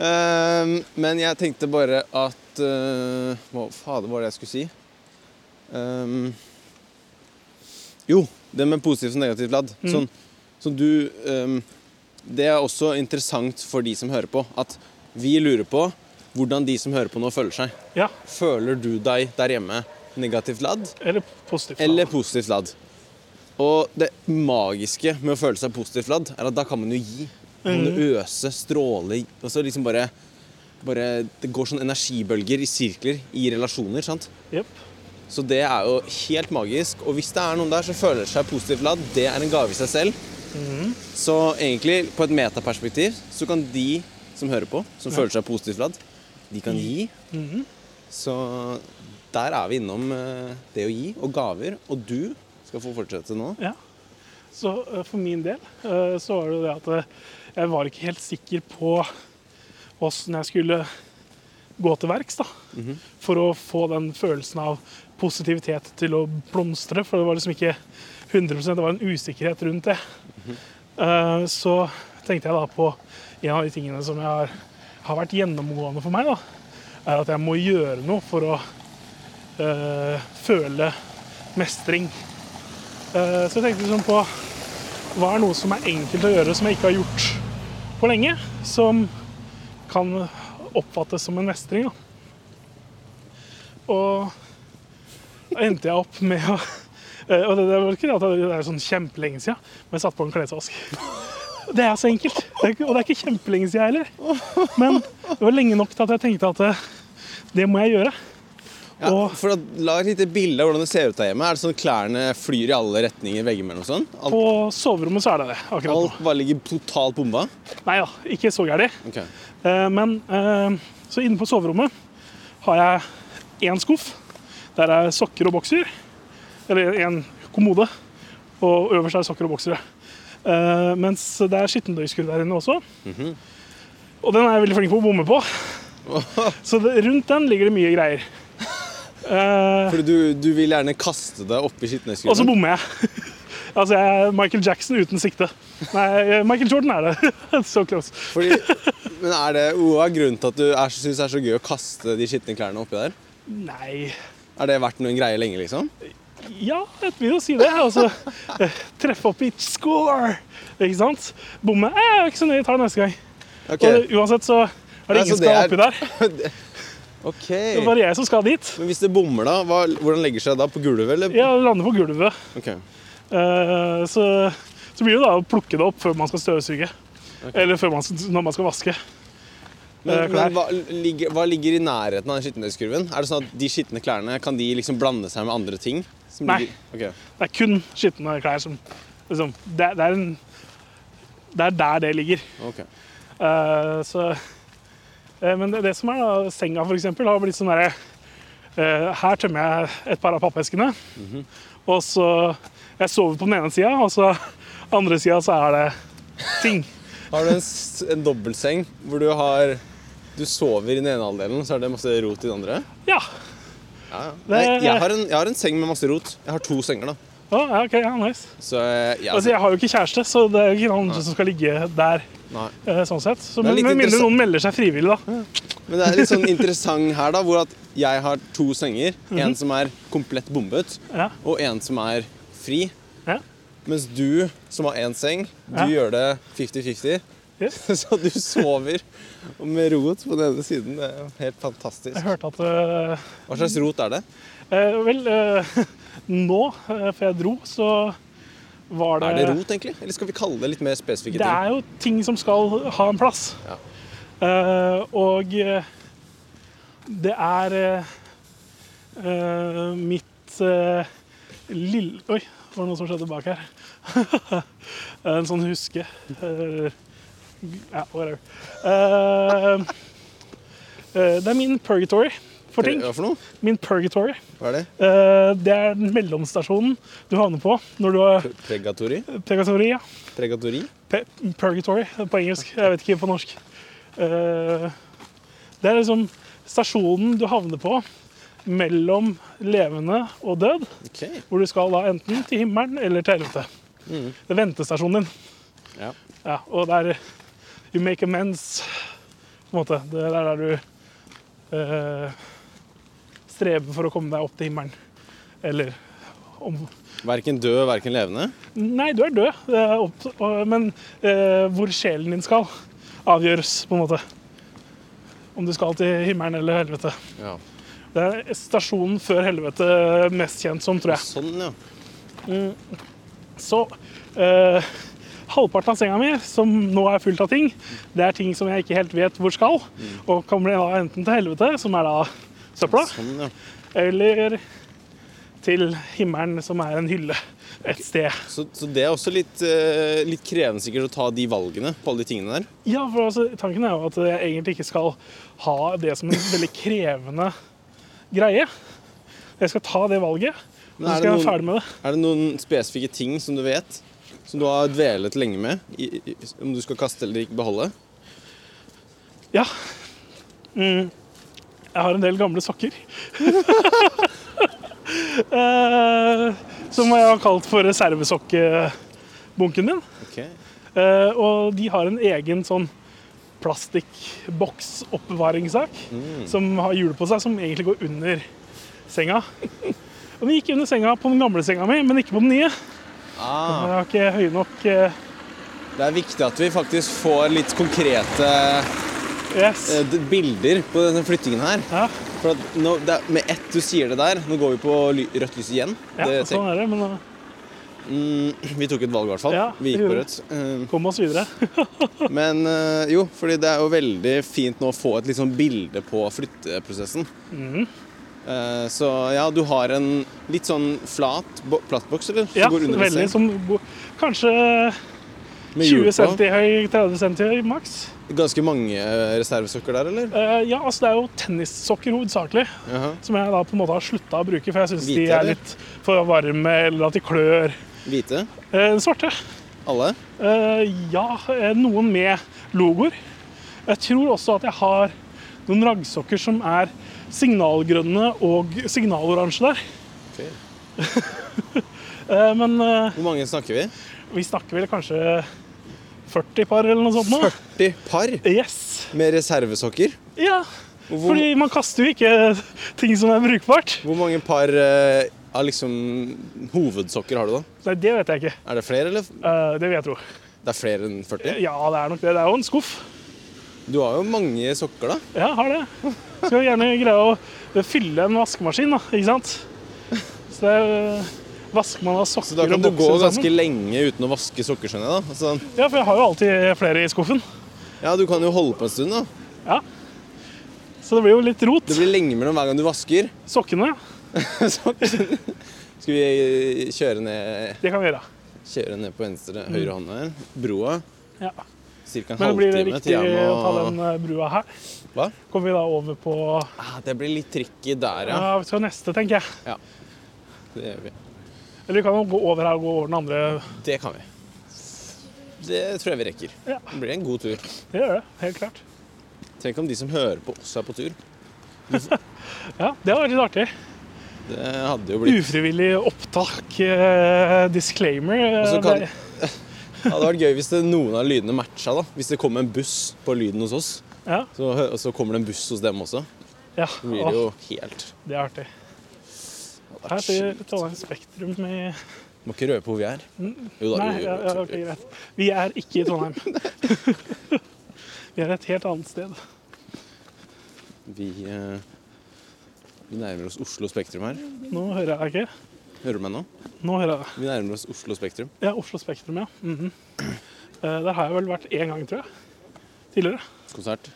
Speaker 1: Eh, men jeg tenkte bare at eh, Hva fader var det jeg skulle si? Ehm, Eh, jo, det med positivt og negativt ladd. Sånn, så du ehm, Det er også interessant for de som hører på, at vi lurer på hvordan de som hører på nå, føler seg.
Speaker 2: Ja,
Speaker 1: Føler du deg der hjemme negativt ladd?
Speaker 2: eller positivt. da.
Speaker 1: Eller positivt ladd. Og det magiske med å føle seg positivt ladd, er at da kan man jo gi. Man kan øse, stråle og så liksom bare, bare Det går sånn energibølger i sirkler i relasjoner. sant?
Speaker 2: Jep.
Speaker 1: Så det er jo helt magisk. Og hvis det er noen der som føler seg positivt ladd, det er en gave i seg selv.
Speaker 2: Mhm.
Speaker 1: Så egentlig, på et metaperspektiv, så kan de som hører på, som føler seg positivt ladd, de
Speaker 2: Mhm.
Speaker 1: kan gi. Så der er vi innom eh, det å gi og gaver. Og du skal få fortsette nå.
Speaker 2: Ja. Så eh, for min del eh, så var det jo det at eh, jeg var ikke helt sikker på åssen jeg skulle gå til verks da, for å få den følelsen av positivitet til å blomstre. For det var liksom ikke 100 det var en usikkerhet rundt det. Eh, Så tenkte jeg da på en av de tingene som jeg har, har vært gjennomgående for meg, da, er at jeg må gjøre noe for å eh, føle mestring. Eh, Så jeg tenkte liksom på hva er noe som er enkelt å gjøre, som jeg ikke har gjort på lenge, som kan oppfattes som en mestring. Da. Og da endte jeg opp med å eh, Og det, det var ikke det at det er sånn kjempelenge siden, men jeg satte på en klesvask. Det er så enkelt. Det er, ikke- og det er ikke kjempelenge siden heller. Men det var lenge nok til at jeg tenkte at eh, det må jeg gjøre.
Speaker 1: Ja,
Speaker 2: Og-
Speaker 1: for å La et lite bilde av hvordan det ser ut der hjemme. Er det sånn Klærne flyr i alle retninger veggimellom og sånn? Alt,
Speaker 2: På soverommet så er det det. akkurat nå.
Speaker 1: alt bare ligger totalt bomba?
Speaker 2: Nei da, ikke så gærent.
Speaker 1: Ok.
Speaker 2: Eh, Men eh, så inne på soverommet har jeg én skuff. Der er sokker og bokser. Eller en kommode. Og øverst er sokker og boksere. Eh, Mens det er skittentøyskur der inne også. Og den er jeg veldig flink på å bomme på. Så det, rundt den ligger det mye greier. Eh,
Speaker 1: For du, du vil gjerne kaste deg oppi
Speaker 2: og så
Speaker 1: skittentøyskurven?
Speaker 2: bommer jeg. Altså, jeg er Michael Jackson uten sikte. Nei, Michael Jordan er det. So close.
Speaker 1: Fordi, men er det, hva er grunnen til at du er, synes det er så gøy å kaste de skitne klærne oppi der?
Speaker 2: Nei
Speaker 1: Er det vært noen greie lenge, liksom?
Speaker 2: Ja, jeg vil jo si det. Altså, eh, treffe opp i score! Ikke sant? Bomme eh, jeg er ikke så nøye, jeg tar det neste gang.
Speaker 1: Ok,
Speaker 2: Og det- uansett så er
Speaker 1: Nei,
Speaker 2: det
Speaker 1: så
Speaker 2: ingen som
Speaker 1: det
Speaker 2: skal
Speaker 1: er-
Speaker 2: oppi der.
Speaker 1: ok.
Speaker 2: Det er bare jeg som skal dit.
Speaker 1: Men hvis det bommer, da? Hva, hvordan legger seg da? På gulvet, eller?
Speaker 2: Jeg lander på gulvet.
Speaker 1: Ok.
Speaker 2: Eh, Så, så blir det da å plukke det opp før man skal støvsuge. Eller før man, skal- når man skal vaske.
Speaker 1: Men,
Speaker 2: Eh, klær.
Speaker 1: men hva, ligger, hva ligger i nærheten av den skittentøyskurven? Er det sånn at de skitne klærne kan de liksom blande seg med andre ting? som
Speaker 2: Nei.
Speaker 1: ligger- Ok.
Speaker 2: Det er kun skitne klær som liksom, det, det, er en, det er der det ligger.
Speaker 1: ok.
Speaker 2: Eh, så, eh, men det, det som er da, senga for eksempel, har blitt sånn derre eh, Her tømmer jeg et par av pappeskene.
Speaker 1: Mhm.
Speaker 2: Og så Jeg sover på den ene sida, og så andre sida så er det ting.
Speaker 1: Har du en, s- en dobbeltseng hvor du har Du sover i den ene halvdelen, så er det masse rot i den andre?
Speaker 2: Ja.
Speaker 1: Ja, ja. Nei,
Speaker 2: Det-
Speaker 1: jeg, har en, jeg har en seng med masse rot. Jeg har to senger, da.
Speaker 2: Å, ja, ok, ja, nice.
Speaker 1: Så eh, jeg, jeg,
Speaker 2: Altså, jeg har jo ikke kjæreste, så det er jo ikke noen andre som skal ligge der.
Speaker 1: nei.
Speaker 2: eh, sånn sett. Så,
Speaker 1: Det er
Speaker 2: men,
Speaker 1: litt
Speaker 2: med mindre
Speaker 1: interessant.
Speaker 2: noen melder seg frivillig, da.
Speaker 1: Men det er litt sånn interessant her, da, hvor at jeg har to senger. En som er komplett bombet,
Speaker 2: Mhm. Ja.
Speaker 1: og en som er fri.
Speaker 2: Ja.
Speaker 1: Mens du, som har én seng, du
Speaker 2: Ja.
Speaker 1: gjør det 50-50.
Speaker 2: Yes.
Speaker 1: Så du sover med rot på den ene siden. Det er helt
Speaker 2: Jeg
Speaker 1: fantastisk.
Speaker 2: hørte at eh,
Speaker 1: Hva slags rot er det?
Speaker 2: eh, Vel, eh, nå, eh, før jeg dro, så var det
Speaker 1: Er det rot, egentlig? Eller skal vi kalle det litt mer spesifikke
Speaker 2: Det
Speaker 1: ting?
Speaker 2: er jo ting som skal ha en plass.
Speaker 1: Ja.
Speaker 2: Eh, og eh, det er eh, eh, mitt eh, lille Oi, var det noe som skjedde bak her? en sånn huske. eh, ja, whatever. Eh, eh, det er min purgatory for ting.
Speaker 1: Hva for noe?
Speaker 2: Min purgatory.
Speaker 1: Hva er det?
Speaker 2: Eh, det er den mellomstasjonen du havner på når du har
Speaker 1: Pregatori?
Speaker 2: purgatory. Ja.
Speaker 1: Pregatori?
Speaker 2: Pe- Purgatory på engelsk. Jeg vet ikke på norsk. Eh, Det er liksom stasjonen du havner på mellom levende og død,
Speaker 1: Ok.
Speaker 2: hvor du skal da enten til himmelen eller til helvete.
Speaker 1: Mhm.
Speaker 2: Det er ventestasjonen din.
Speaker 1: Ja.
Speaker 2: Ja, og det er You make amends, på en måte. Det er der du eh, streber for å komme deg opp til himmelen. Eller om
Speaker 1: Verken død, verken levende.
Speaker 2: Nei, du er død, eh, opp- og- men eh, hvor sjelen din skal, avgjøres, på en måte. Om du skal til himmelen eller helvete.
Speaker 1: Ja.
Speaker 2: Det er stasjonen før helvete mest kjent som, tror jeg.
Speaker 1: Sånn, ja.
Speaker 2: Så eh, halvparten av senga mi, som nå er fullt av ting, det er ting som jeg ikke helt vet hvor skal, og kan bli da enten til helvete, som er da søpla,
Speaker 1: Sånn, ja.
Speaker 2: eller til himmelen, som er en hylle et sted.
Speaker 1: Så, så det er også litt, eh, litt krevende sikkert å ta de valgene på alle de tingene der.
Speaker 2: Ja, for altså, tanken er jo at jeg egentlig ikke skal ha det som en veldig krevende greie. Jeg skal ta det valget, og
Speaker 1: Men
Speaker 2: så
Speaker 1: er
Speaker 2: skal
Speaker 1: det noen-
Speaker 2: jeg være ferdig med det.
Speaker 1: Er det noen spesifikke ting som du vet, som du har dvelet lenge med, i, i, om du skal kaste eller ikke beholde?
Speaker 2: Ja. Mm. Jeg har en del gamle sokker. eh, som jeg har kalt for reservesokkebunken min.
Speaker 1: Ok.
Speaker 2: Eh, og de har en egen sånn plastikkboks-oppbevaringssak
Speaker 1: Mm.
Speaker 2: som har hjul på seg, som egentlig går under senga. Og den gikk under senga på den gamle senga mi, men ikke på den nye. Jeg
Speaker 1: Ah,
Speaker 2: har ikke høye nok eh,
Speaker 1: det er viktig at vi faktisk får litt konkrete
Speaker 2: yes.
Speaker 1: eh, d- bilder på denne flyttingen her.
Speaker 2: Ja,
Speaker 1: For at nå, det er, med ett du sier det der, nå går vi på ly, rødt lys igjen.
Speaker 2: ja
Speaker 1: det,
Speaker 2: sånn er det. Men da
Speaker 1: mm, vi tok et valg i hvert fall.
Speaker 2: Ja,
Speaker 1: vi gikk
Speaker 2: vi
Speaker 1: på
Speaker 2: gjorde
Speaker 1: rødt. Eh,
Speaker 2: kom oss videre.
Speaker 1: Men eh, jo, fordi det er jo veldig fint nå å få et litt sånn bilde på flytteprosessen.
Speaker 2: Mm.
Speaker 1: Eh, Så ja, du har en litt sånn flat bo- plastboks, eller? Som
Speaker 2: Ja,
Speaker 1: går under en
Speaker 2: veldig sånn
Speaker 1: seng
Speaker 2: som bo- Kanskje
Speaker 1: med hjul
Speaker 2: 20
Speaker 1: på.
Speaker 2: cm høy, 30 cm høy maks.
Speaker 1: Ganske mange eh, reservesokker der, eller?
Speaker 2: Eh, ja, altså det er jo tennissokker hovedsakelig,
Speaker 1: Jaha.
Speaker 2: som jeg da på en måte har slutta å bruke, for jeg syns de
Speaker 1: Hvite,
Speaker 2: er
Speaker 1: eller?
Speaker 2: litt for varme, eller at de klør.
Speaker 1: Hvite?
Speaker 2: Eh, svarte.
Speaker 1: Alle?
Speaker 2: Eh, ja, eh, noen med logoer. Jeg tror også at jeg har noen raggsokker som er signalgrønne og signaloransje der. Eh, men eh,
Speaker 1: Hvor mange snakker vi?
Speaker 2: vi snakker vel kanskje 40 par eller noe sånt nå?
Speaker 1: 40 par
Speaker 2: Yes.
Speaker 1: med reservesokker.
Speaker 2: Ja,
Speaker 1: Og Hvor,
Speaker 2: fordi man kaster jo ikke ting som er brukbart.
Speaker 1: hvor mange par eh, av liksom hovedsokker har du, da?
Speaker 2: Nei, det vet jeg ikke.
Speaker 1: Er det flere, eller?
Speaker 2: Eh, det vil jeg tro.
Speaker 1: Det er flere enn 40?
Speaker 2: Ja, det er nok det. Det er jo en skuff.
Speaker 1: Du har jo mange sokker, da.
Speaker 2: Ja, har det. Skal gjerne greie å fylle en vaskemaskin, da. Ikke sant? Så det er, eh, vasker man av sokker
Speaker 1: Så da kan
Speaker 2: og
Speaker 1: du gå
Speaker 2: bokser
Speaker 1: ganske
Speaker 2: sammen.
Speaker 1: lenge uten å vaske sokker, skjønner jeg, da. Altså,
Speaker 2: Ja, for jeg har jo alltid flere i skuffen.
Speaker 1: ja, du kan jo holde på en stund, da.
Speaker 2: Ja. Så det blir jo litt rot.
Speaker 1: Det blir lenge mellom hver gang du vasker.
Speaker 2: Sokkene,
Speaker 1: Så- Skal vi eh, kjøre ned,
Speaker 2: det kan vi gjøre.
Speaker 1: kjøre ned på venstre, høyre hånd her? Broa.
Speaker 2: Ja.
Speaker 1: Cirka en
Speaker 2: Mm. Men det blir det
Speaker 1: halvtime til
Speaker 2: riktig å ta
Speaker 1: Jana.
Speaker 2: den eh, brua her.
Speaker 1: Hva?
Speaker 2: Kommer vi da over på
Speaker 1: Ah, det blir litt tricky der, ja.
Speaker 2: ja, vi skal neste, tenker jeg.
Speaker 1: Det, gjør vi.
Speaker 2: Eller vi kan jo gå over her og gå over den andre.
Speaker 1: det kan vi. Det tror jeg vi rekker.
Speaker 2: Ja.
Speaker 1: Det blir en god tur.
Speaker 2: Det gjør det, helt klart.
Speaker 1: Tenk om de som hører på, også er på tur.
Speaker 2: Ja, det har vært litt artig.
Speaker 1: Det hadde jo blitt
Speaker 2: Ufrivillig opptak, eh, disclaimer. eh,
Speaker 1: Og så kan-
Speaker 2: det-
Speaker 1: Det hadde vært gøy hvis det, noen av lydene matcha, da. Hvis det kom en buss på lyden hos oss,
Speaker 2: Ja,
Speaker 1: så, hø- og så kommer det en buss hos dem også.
Speaker 2: ja.
Speaker 1: Så blir det jo helt
Speaker 2: det er artig. Her sier Trondheim Spektrum i
Speaker 1: Må ikke røpe hvor vi er. Jo da,
Speaker 2: Nei,
Speaker 1: jo,
Speaker 2: ja,
Speaker 1: jo,
Speaker 2: ja, ok, greit. Vi er ikke i Trondheim. Vi er et helt annet sted.
Speaker 1: Vi, eh, vi nærmer oss Oslo Spektrum her.
Speaker 2: Nå hører jeg ikke.
Speaker 1: Hører du meg nå?
Speaker 2: Nå hører jeg.
Speaker 1: Vi nærmer oss Oslo Spektrum.
Speaker 2: Ja, Oslo Spektrum, ja. Mhm. Eh, Der har jeg vel vært én gang, tror jeg. Tidligere.
Speaker 1: Konsert.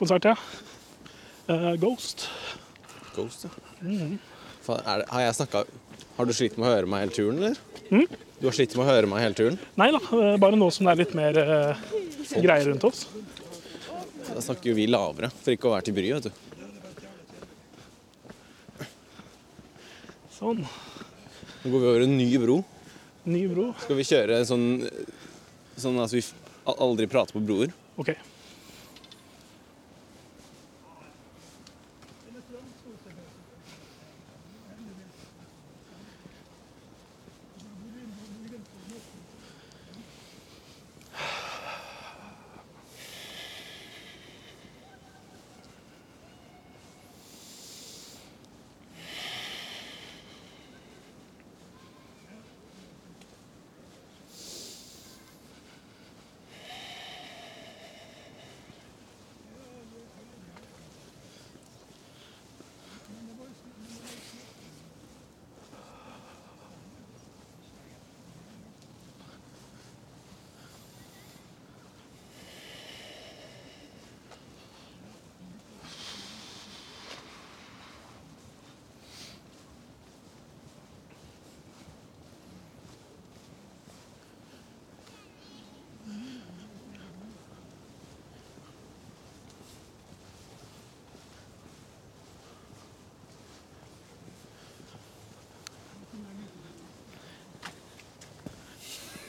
Speaker 2: Konsert, ja. Eh, Ghost.
Speaker 1: Ghost, ja.
Speaker 2: Mhm.
Speaker 1: Faen, er det, har jeg snakka Har du slitt med å høre meg hele turen, eller?
Speaker 2: Mhm.
Speaker 1: Du har slitt med å høre meg hele turen?
Speaker 2: Nei da, eh, bare nå som det er litt mer eh, greier rundt oss.
Speaker 1: Da snakker jo vi lavere, for ikke å være til bry, vet du.
Speaker 2: Sånn.
Speaker 1: Nå går vi over en ny bro.
Speaker 2: Ny bro.
Speaker 1: Skal vi kjøre en sånn Sånn at vi f- al- aldri prater på broer?
Speaker 2: OK.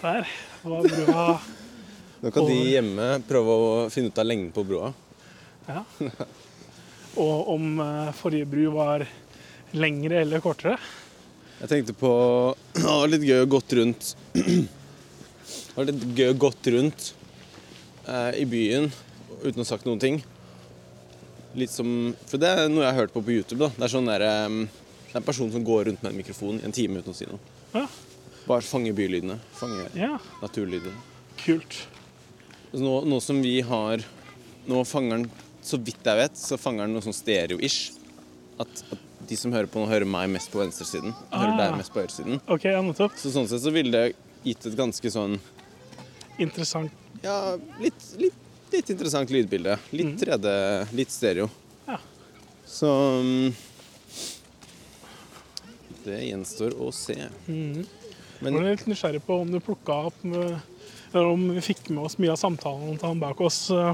Speaker 2: Der var brua
Speaker 1: Nå kan de
Speaker 2: Og-
Speaker 1: hjemme prøve å finne ut av lengden på broa.
Speaker 2: ja. Og om eh, forrige bru var lengre eller kortere.
Speaker 1: Jeg tenkte på Det var litt gøy å gått rundt Det var litt gøy å gått rundt eh, i byen uten å ha sagt noen ting. Litt som For det er noe jeg har hørt på på YouTube. da Det er sånn der, eh, det er en person som går rundt med en mikrofon i en time uten å si noe.
Speaker 2: Ja,
Speaker 1: Bare fange bylydene. Fange
Speaker 2: ja.
Speaker 1: naturlydene.
Speaker 2: kult.
Speaker 1: Altså, Nå, nå som vi har Nå fanger den, så vidt jeg vet, så fanger den noe sånn stereo-ish. At, at de som hører på nå, hører meg mest på venstresiden. Jeg Hører
Speaker 2: Ah.
Speaker 1: deg mest på høyresiden.
Speaker 2: OK, ja, nettopp.
Speaker 1: Så sånn sett så ville det gitt et ganske sånn
Speaker 2: Interessant.
Speaker 1: Ja, litt, litt, litt interessant lydbilde. Litt 3D, litt stereo.
Speaker 2: Mm. Ja.
Speaker 1: Så mm, Det gjenstår å se.
Speaker 2: Jeg
Speaker 1: Men
Speaker 2: ble litt nysgjerrig på om du plukka opp med, eller om vi fikk med oss mye av samtalen til han bak oss. eh,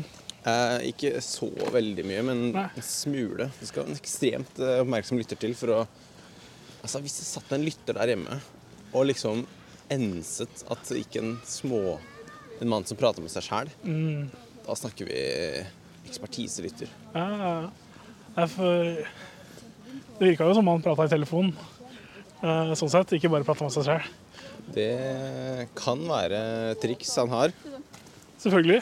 Speaker 1: eh, ikke så veldig mye, men
Speaker 2: Nei.
Speaker 1: en smule. Du skal ha en ekstremt eh, oppmerksom lytter til for å Altså, hvis det satt en lytter der hjemme og liksom enset at ikke en små En mann som prater med seg sjæl,
Speaker 2: Mm.
Speaker 1: da snakker vi ekspertiselytter.
Speaker 2: Ja, ja, ja. Nei, for det virka jo som han prata i telefonen. Eh, sånn sett. Ikke bare prata med seg sjøl.
Speaker 1: Det kan være triks han har.
Speaker 2: Selvfølgelig.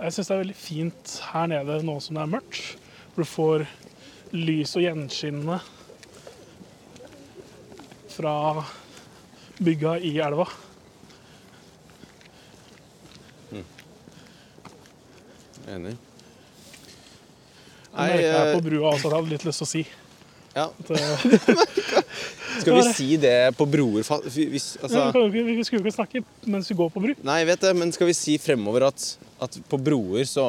Speaker 2: Jeg syns det er veldig fint her nede nå som det er mørkt. For du får lys og gjenskinne fra bygga i elva.
Speaker 1: Enig.
Speaker 2: Det
Speaker 1: Nei,
Speaker 2: merker jeg
Speaker 1: eh,
Speaker 2: på brua også, at jeg hadde litt lyst til å si.
Speaker 1: ja.
Speaker 2: At, eh,
Speaker 1: Skal vi si det på broer fa- hvis,
Speaker 2: men vi,
Speaker 1: altså,
Speaker 2: kan jo ikke, vi skulle jo ikke snakke mens vi går på bru.
Speaker 1: Nei, jeg vet det, men skal vi si fremover at, at på broer så,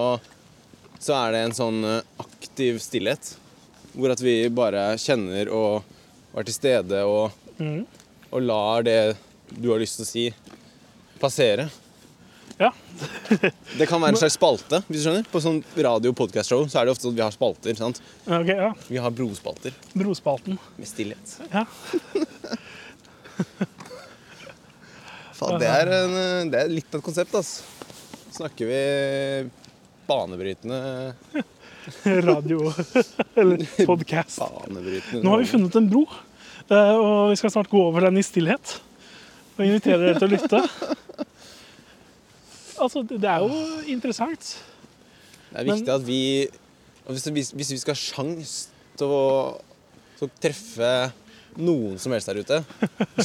Speaker 1: så er det en sånn eh, aktiv stillhet? Hvor at vi bare kjenner og er til stede og,
Speaker 2: Mhm.
Speaker 1: og lar det du har lyst til å si, passere.
Speaker 2: Ja,
Speaker 1: Det kan være en slags spalte. hvis du skjønner. På sånn radio- og show så er det ofte sånn at vi har spalter. sant?
Speaker 2: ok, ja.
Speaker 1: Vi har brospalter
Speaker 2: Brospalten.
Speaker 1: med stillhet.
Speaker 2: Ja.
Speaker 1: Faen, det, er en, eh, det er litt av et konsept, ass. Snakker vi banebrytende
Speaker 2: Radio eller podcast.
Speaker 1: Banebrytende
Speaker 2: Nå har vi funnet en bro, eh, og vi skal snart gå over den i stillhet. Og invitere dere til å lytte. Altså, det det er jo interessant.
Speaker 1: Det er viktig at vi og hvis, hvis, hvis vi skal ha sjans til å, til å treffe noen som helst der ute,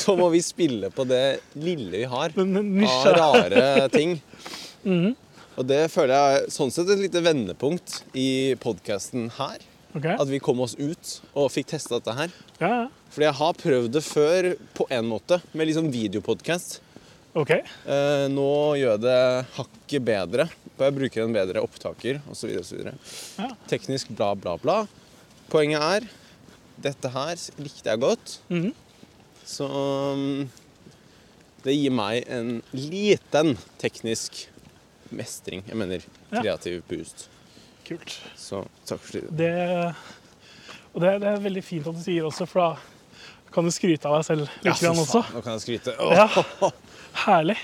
Speaker 1: så må vi spille på det lille vi har
Speaker 2: Men Mhm.
Speaker 1: av
Speaker 2: nysgjerrig
Speaker 1: rare ting. Og det føler jeg er sånn sett et lite vendepunkt i podkasten her.
Speaker 2: Ok,
Speaker 1: At vi kom oss ut og fikk testa dette her.
Speaker 2: ja, ja.
Speaker 1: Fordi jeg har prøvd det før på en måte, med liksom videopodkast.
Speaker 2: ok.
Speaker 1: Eh, nå gjør jeg det hakket bedre. For jeg bruker en bedre opptaker osv. videre
Speaker 2: Ja.
Speaker 1: Teknisk bla, bla, bla. Poenget er dette her likte jeg godt.
Speaker 2: Mhm.
Speaker 1: Så um, det gir meg en liten teknisk mestring. Jeg mener
Speaker 2: Ja.
Speaker 1: kreativ boost.
Speaker 2: Kult.
Speaker 1: Så takk for det.
Speaker 2: Det, og det, det er veldig fint at du sier også, for da kan du skryte av deg selv litt
Speaker 1: fy
Speaker 2: grann også.
Speaker 1: Nå kan jeg skryte. Åh.
Speaker 2: Ja. Herlig.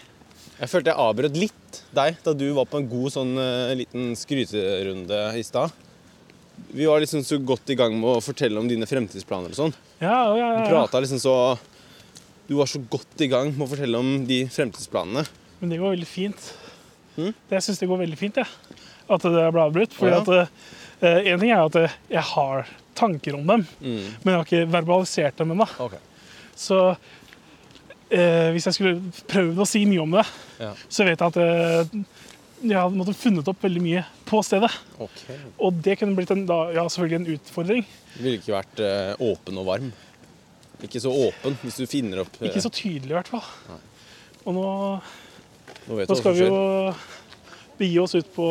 Speaker 1: Jeg følte jeg avbrøt litt deg da du var på en god sånn eh, liten skryterunde i stad. Vi var liksom så godt i gang med å fortelle om dine fremtidsplaner og sånn.
Speaker 2: Ja, ja,
Speaker 1: Du
Speaker 2: ja, ja.
Speaker 1: prata liksom så Du var så godt i gang med å fortelle om de fremtidsplanene.
Speaker 2: Men det går veldig fint.
Speaker 1: Mm?
Speaker 2: Det- Jeg syns det går veldig fint, jeg. At det ble avbrutt.
Speaker 1: Å,
Speaker 2: For
Speaker 1: ja.
Speaker 2: én ting er jo at eh, jeg har tanker om dem,
Speaker 1: Mm.
Speaker 2: men jeg har ikke verbalisert dem ennå. Så eh, hvis jeg skulle prøvd å si mye om det,
Speaker 1: Ja.
Speaker 2: så vet jeg at eh, jeg hadde måttet funnet opp veldig mye på stedet.
Speaker 1: ok.
Speaker 2: Og det kunne blitt en, da, ja, selvfølgelig en utfordring.
Speaker 1: Du ville ikke vært eh, åpen og varm. Ikke så åpen hvis du finner opp eh,
Speaker 2: Ikke så tydelig, i hvert fall. Og nå,
Speaker 1: Nå vet du
Speaker 2: nå
Speaker 1: hva
Speaker 2: skal
Speaker 1: som
Speaker 2: vi
Speaker 1: skjer.
Speaker 2: jo begi oss ut på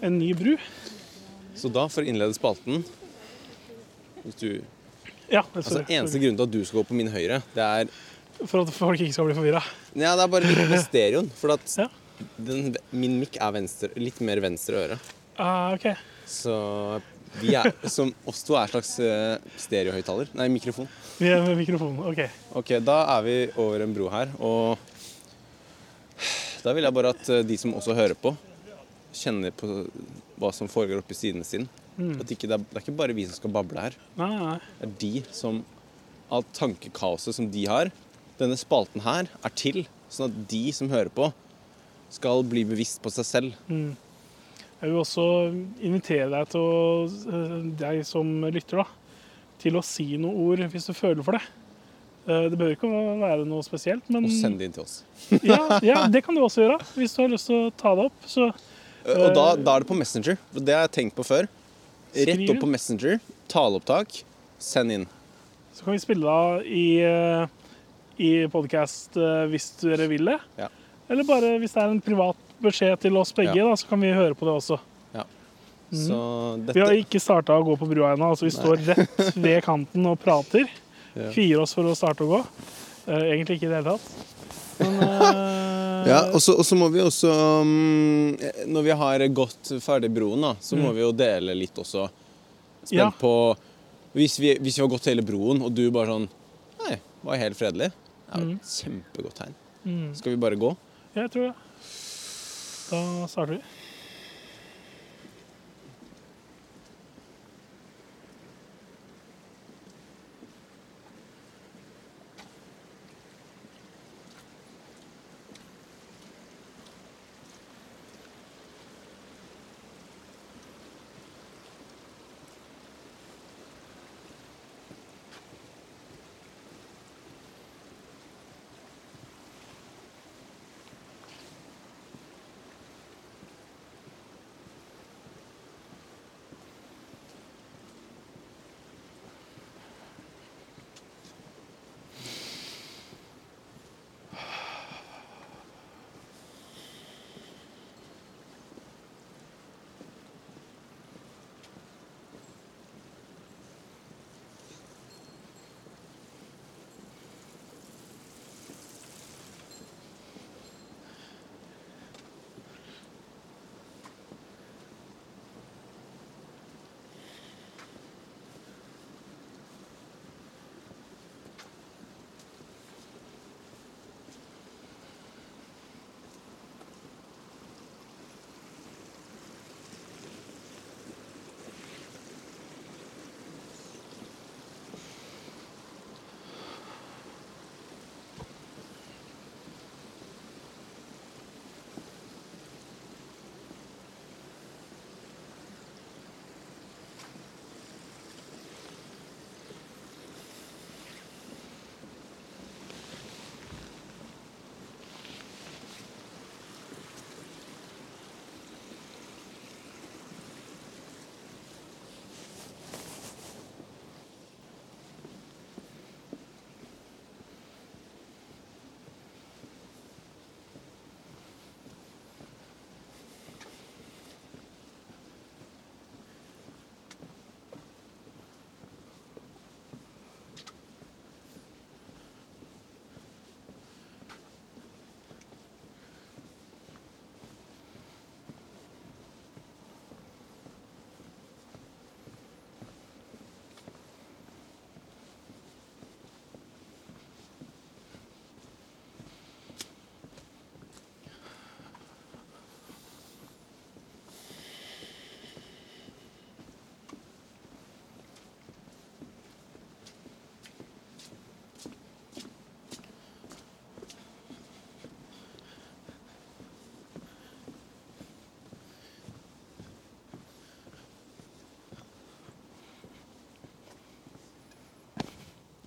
Speaker 2: en ny bru.
Speaker 1: Så da, for å innlede spalten hvis du,
Speaker 2: Ja, det
Speaker 1: altså, Eneste grunnen til at du skal gå på min høyre, det er
Speaker 2: For at folk ikke skal bli forvirra.
Speaker 1: Ja, det er bare litt med stereoen. For at
Speaker 2: Ja.
Speaker 1: den, min mikk er venstre, litt mer venstre øre.
Speaker 2: Ah, ok.
Speaker 1: Så vi er, som oss to er en slags eh, stereohøyttaler. Nei, mikrofon.
Speaker 2: Vi er med mikrofonen. Ok.
Speaker 1: Ok, da er vi over en bro her, og da vil jeg bare at eh, de som også hører på, kjenner på hva som foregår oppi sidene sine. At ikke, det, er, det er ikke bare vi som skal bable her.
Speaker 2: Nei, nei.
Speaker 1: Det er de som Alt tankekaoset som de har, denne spalten her, er til sånn at de som hører på, skal bli bevisst på seg selv.
Speaker 2: Jeg vil også invitere deg til å, eh, deg som lytter, da, til å si noen ord hvis du føler for det. Eh, Det behøver ikke å være noe spesielt, men
Speaker 1: Og send det inn til oss.
Speaker 2: ja, ja, det kan du også gjøre. Hvis du har lyst til å ta det opp, så
Speaker 1: Og da, da er det på Messenger. for Det har jeg tenkt på før. Rett
Speaker 2: Skriv
Speaker 1: opp på Messenger, taleopptak, send inn.
Speaker 2: Så kan vi spille av i, eh, i podkast hvis dere vil det.
Speaker 1: Ja.
Speaker 2: Eller bare hvis det er en privat beskjed til oss begge,
Speaker 1: Ja.
Speaker 2: da, så kan vi høre på det også.
Speaker 1: Så
Speaker 2: Mm. Vi har
Speaker 1: dette
Speaker 2: ikke starta å gå på brua ennå. Altså, vi står rett ved kanten og prater.
Speaker 1: Ja.
Speaker 2: Kvier oss for å starte å gå. Eh, egentlig ikke i det hele tatt. Men eh,
Speaker 1: ja, og så og så må vi også um, Når vi har gått ferdig broen, da, så må vi jo dele litt også. Spent
Speaker 2: Mm. Ja.
Speaker 1: på hvis vi, hvis vi har gått hele broen, og du bare sånn Nei, var helt fredelig. Det er jo et kjempegodt tegn.
Speaker 2: Mm.
Speaker 1: Skal vi bare gå?
Speaker 2: jeg tror det. Da starter vi.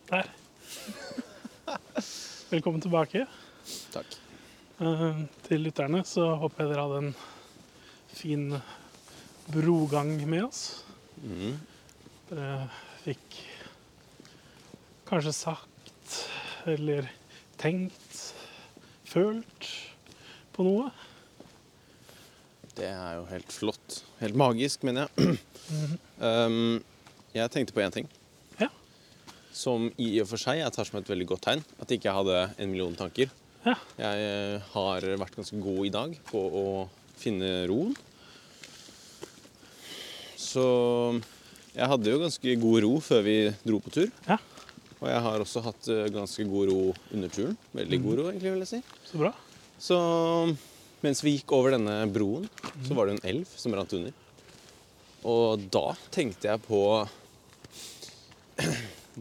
Speaker 2: Der. Velkommen tilbake.
Speaker 1: Takk.
Speaker 2: Eh, til lytterne så håper jeg dere hadde en fin brogang med oss.
Speaker 1: Mhm.
Speaker 2: Dere fikk kanskje sagt eller tenkt, følt på noe.
Speaker 1: Det er jo helt flott. Helt magisk, mener jeg.
Speaker 2: Mm-hmm.
Speaker 1: um, jeg tenkte på én ting.
Speaker 2: Ja.
Speaker 1: Som i og for seg jeg tar som et veldig godt tegn. At ikke jeg hadde en million tanker.
Speaker 2: Ja.
Speaker 1: Jeg eh, har vært ganske god i dag på å finne roen. Så jeg hadde jo ganske god ro før vi dro på tur.
Speaker 2: Ja,
Speaker 1: Og jeg har også hatt eh, ganske god ro under turen. Veldig god ro, egentlig, vil jeg si.
Speaker 2: så bra.
Speaker 1: Så mens vi gikk over denne broen, så var det en elv som rant under. Og da tenkte jeg på